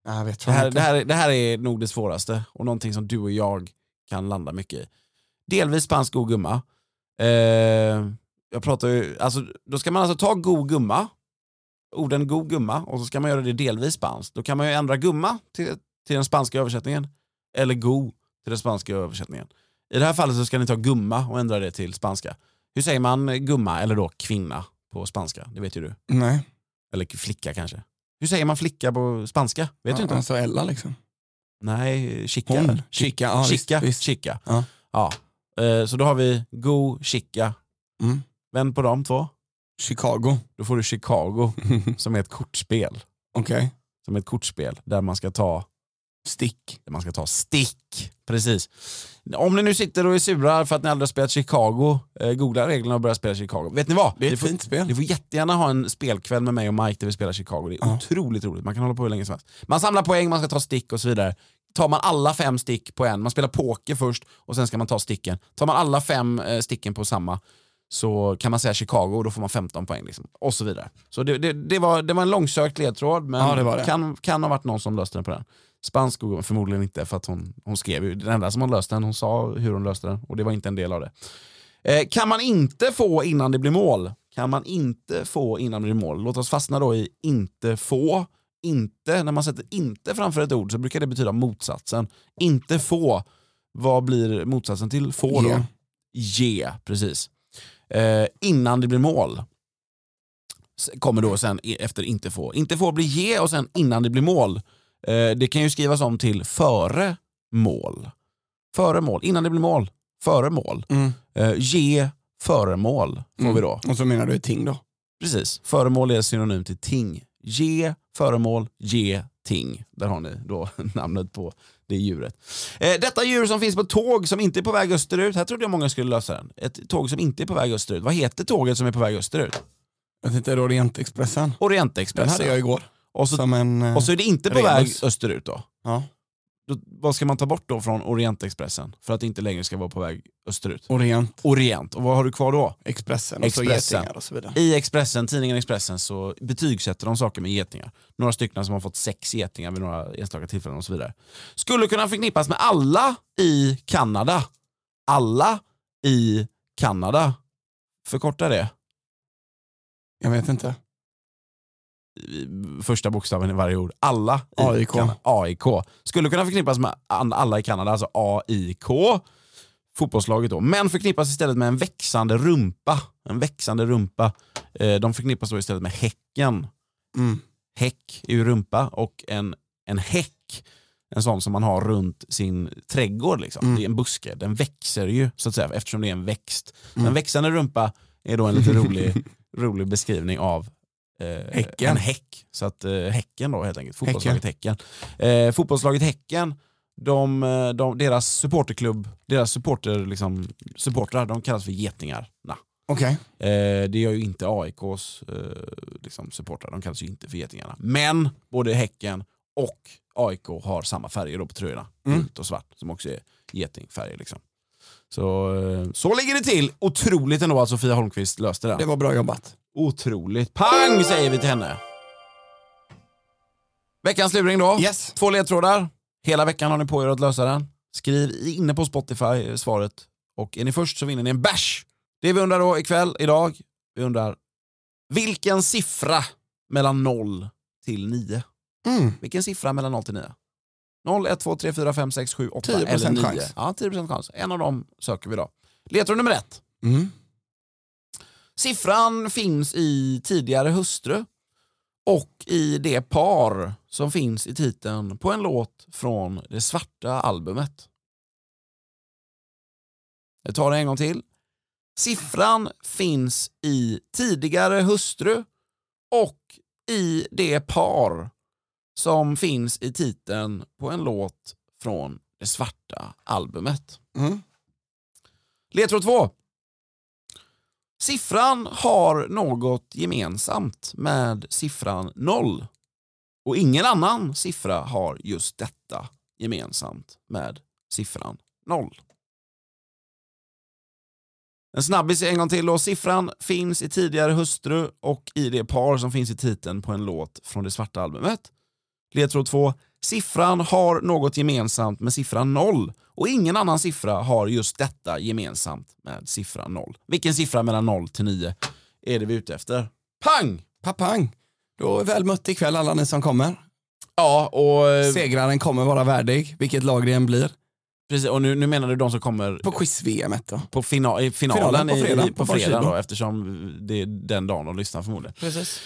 Ja, jag vet
Det
fan
här,
inte.
det, här, det här är nog det svåraste och någonting som du och jag kan landa mycket i. Delvis spansk god gumma. Eh, jag pratar ju, alltså, då ska man alltså ta god gumma, orden god gumma, och så ska man göra det delvis spanskt. Då kan man ju ändra gumma till, till den spanska översättningen, eller go till den spanska översättningen. I det här fallet så ska ni ta gumma och ändra det till spanska. Hur säger man gumma, eller då kvinna, på spanska? Det vet ju du.
Nej.
Eller flicka kanske. Hur säger man flicka på spanska? Vet du
Ja,
inte?
Alltså Ella liksom.
Nej, chica.
Hon.
eller? Chi-
Chica. Ja,
chica.
Visst, visst.
chica.
Ja.
Ja. Eh, Så då har vi Go, Chica.
Mm.
Vänd på de två. [laughs]
Chicago.
Då får du
[laughs]
Chicago som är ett kortspel.
Okej.
Som är ett kortspel där man ska ta
Stick.
där man ska ta stick. Precis. Om ni nu sitter och är sura för att ni aldrig har spelat Chicago, eh, googla reglerna och börja spela Chicago. Vet ni vad?
Det är
Ni
ett
får-
fint spel.
Ni får jättegärna ha en spelkväll med mig och Mike där vi spelar Chicago. Det är
Ja.
otroligt roligt. Man kan hålla på hur länge som helst. Man samlar poäng, man ska ta stick och så vidare. Tar man alla fem stick på en, man spelar poker först och sen ska man ta sticken. Tar man alla fem eh, sticken på samma så kan man säga Chicago och då får man 15 poäng. Liksom. Och så vidare. Så det, det, det, var, det var en långsökt ledtråd men
Ja, det var det.
Kan, kan ha varit någon som löste den på den. Spansk Google, förmodligen inte för att hon, hon skrev ju, den enda som hon löste den, hon sa hur hon löste den och det var inte en del av det. Eh, kan man inte få innan det blir mål? Kan man inte få innan det blir mål? Låt oss fastna då i inte få. Inte, när man sätter inte framför ett ord så brukar det betyda motsatsen. Inte få, vad blir motsatsen till få då?
Ge.
Ge, precis. Eh, innan det blir mål. S- Kommer då sen e- efter inte få. Inte få blir ge och sen innan det blir mål. Eh, det kan ju skrivas om till före mål. Före mål, innan det blir mål. Före mål.
Mm.
Eh, ge föremål får
Mm.
vi då.
Och så menar du ett ting då?
Precis, föremål är synonym till ting. Ge föremål, ge ting. Där har ni då [laughs] namnet på det djuret. Eh, detta djur som finns på tåg som inte är på väg österut. Här trodde jag många skulle lösa den. Ett tåg som inte är på väg österut. Vad heter tåget som är på väg österut?
Jag tänkte Orientexpressen. Den hade
Orientexpressen.
jag igår.
Och så,
Som en... eh,
och så är det inte på
Rebus.
väg österut då.
Ja.
då. Vad ska man ta bort då från Orientexpressen för att det inte längre ska vara på väg österut?
Orient.
Orient. Och vad har du kvar då?
Expressen och så
Expressen.
getingar och så vidare.
I Expressen, tidningen Expressen så betygsätter de saker med getingar. Några stycken som har fått sex getingar vid några enstaka tillfällen och så vidare. Skulle kunna förknippas med alla i Kanada. Alla i Kanada. Förkorta det.
Jag vet inte.
Första bokstaven i varje ord. Alla i
AIK.
Kanada. AIK. Skulle kunna förknippas med an- alla i Kanada, alltså AIK. Fotbollslaget då. Men förknippas istället med en växande rumpa. En växande rumpa. Eh, De förknippas då istället med Häcken.
Mm.
häck är ju rumpa och en, en häck, en sån som man har runt sin trädgård. Liksom.
Mm.
Det är en buske, den växer ju så att säga eftersom det är en växt.
Mm.
En växande rumpa är då en lite
[laughs]
rolig, rolig beskrivning av eh,
Häcken.
en häck. Så att eh, häcken då helt enkelt, fotbollslaget Häcken. Eh, fotbollslaget Häcken, de, eh, de, deras supporterklubb, deras supporter, liksom, supportrar, de kallas för getingarna.
Okej.
Eh, det gör ju inte AIKs eh, liksom supportrar, de kallas ju inte för Getingarna. Men både Häcken och AIK har samma färger då på tröjorna,
Mm.
gult och svart, som också är getingfärger. Liksom. Så, eh, så ligger det till. Otroligt ändå att Sofia Holmqvist löste den.
Det var bra jobbat.
Otroligt. Pang säger vi till henne. Veckans luring då.
Yes.
Två ledtrådar. Hela veckan har ni på er att lösa den. Skriv inne på Spotify eh, svaret och är ni först så vinner ni en bärs. Det vi undrar då ikväll, idag, vi undrar vilken siffra mellan 0 till 9?
Mm.
Vilken siffra mellan 0 till 9? 0, 1, 2, 3, 4, 5, 6, 7, 8
10%
eller 9.
chans.
Ja, 10% chans. En av dem söker vi då. Ledtråd nummer ett.
Mm.
Siffran finns i tidigare hustru och i det par som finns i titeln på en låt från det svarta albumet. Jag tar det en gång till. Siffran finns i tidigare hustru och i det par som finns i titeln på en låt från det svarta albumet.
Mm.
Ledtråd 2. Siffran har något gemensamt med siffran noll. Och ingen annan siffra har just detta gemensamt med siffran noll. En snabbis en gång till då. Siffran finns i tidigare hustru och i det par som finns i titeln på en låt från det svarta albumet. Ledtråd 2. Siffran har något gemensamt med siffran noll och ingen annan siffra har just detta gemensamt med siffran noll. Vilken siffra mellan 0 till 9 är det vi är ute efter? Pang!
Papang! Då är väl mött ikväll alla ni som kommer.
Ja, och... eh,
Segraren kommer vara värdig, vilket lag det än blir.
Precis, och nu, nu menar du de som kommer
På quiz-VM då.
på fina, i finalen,
Finalen på
i-
fredag,
i, på
på
fredag
Varsågod.
då, eftersom det är den dagen de lyssnar förmodligen.
Precis.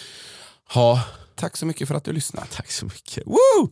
Ja,
Tack så mycket för att du lyssnade.
tack så mycket. Woo!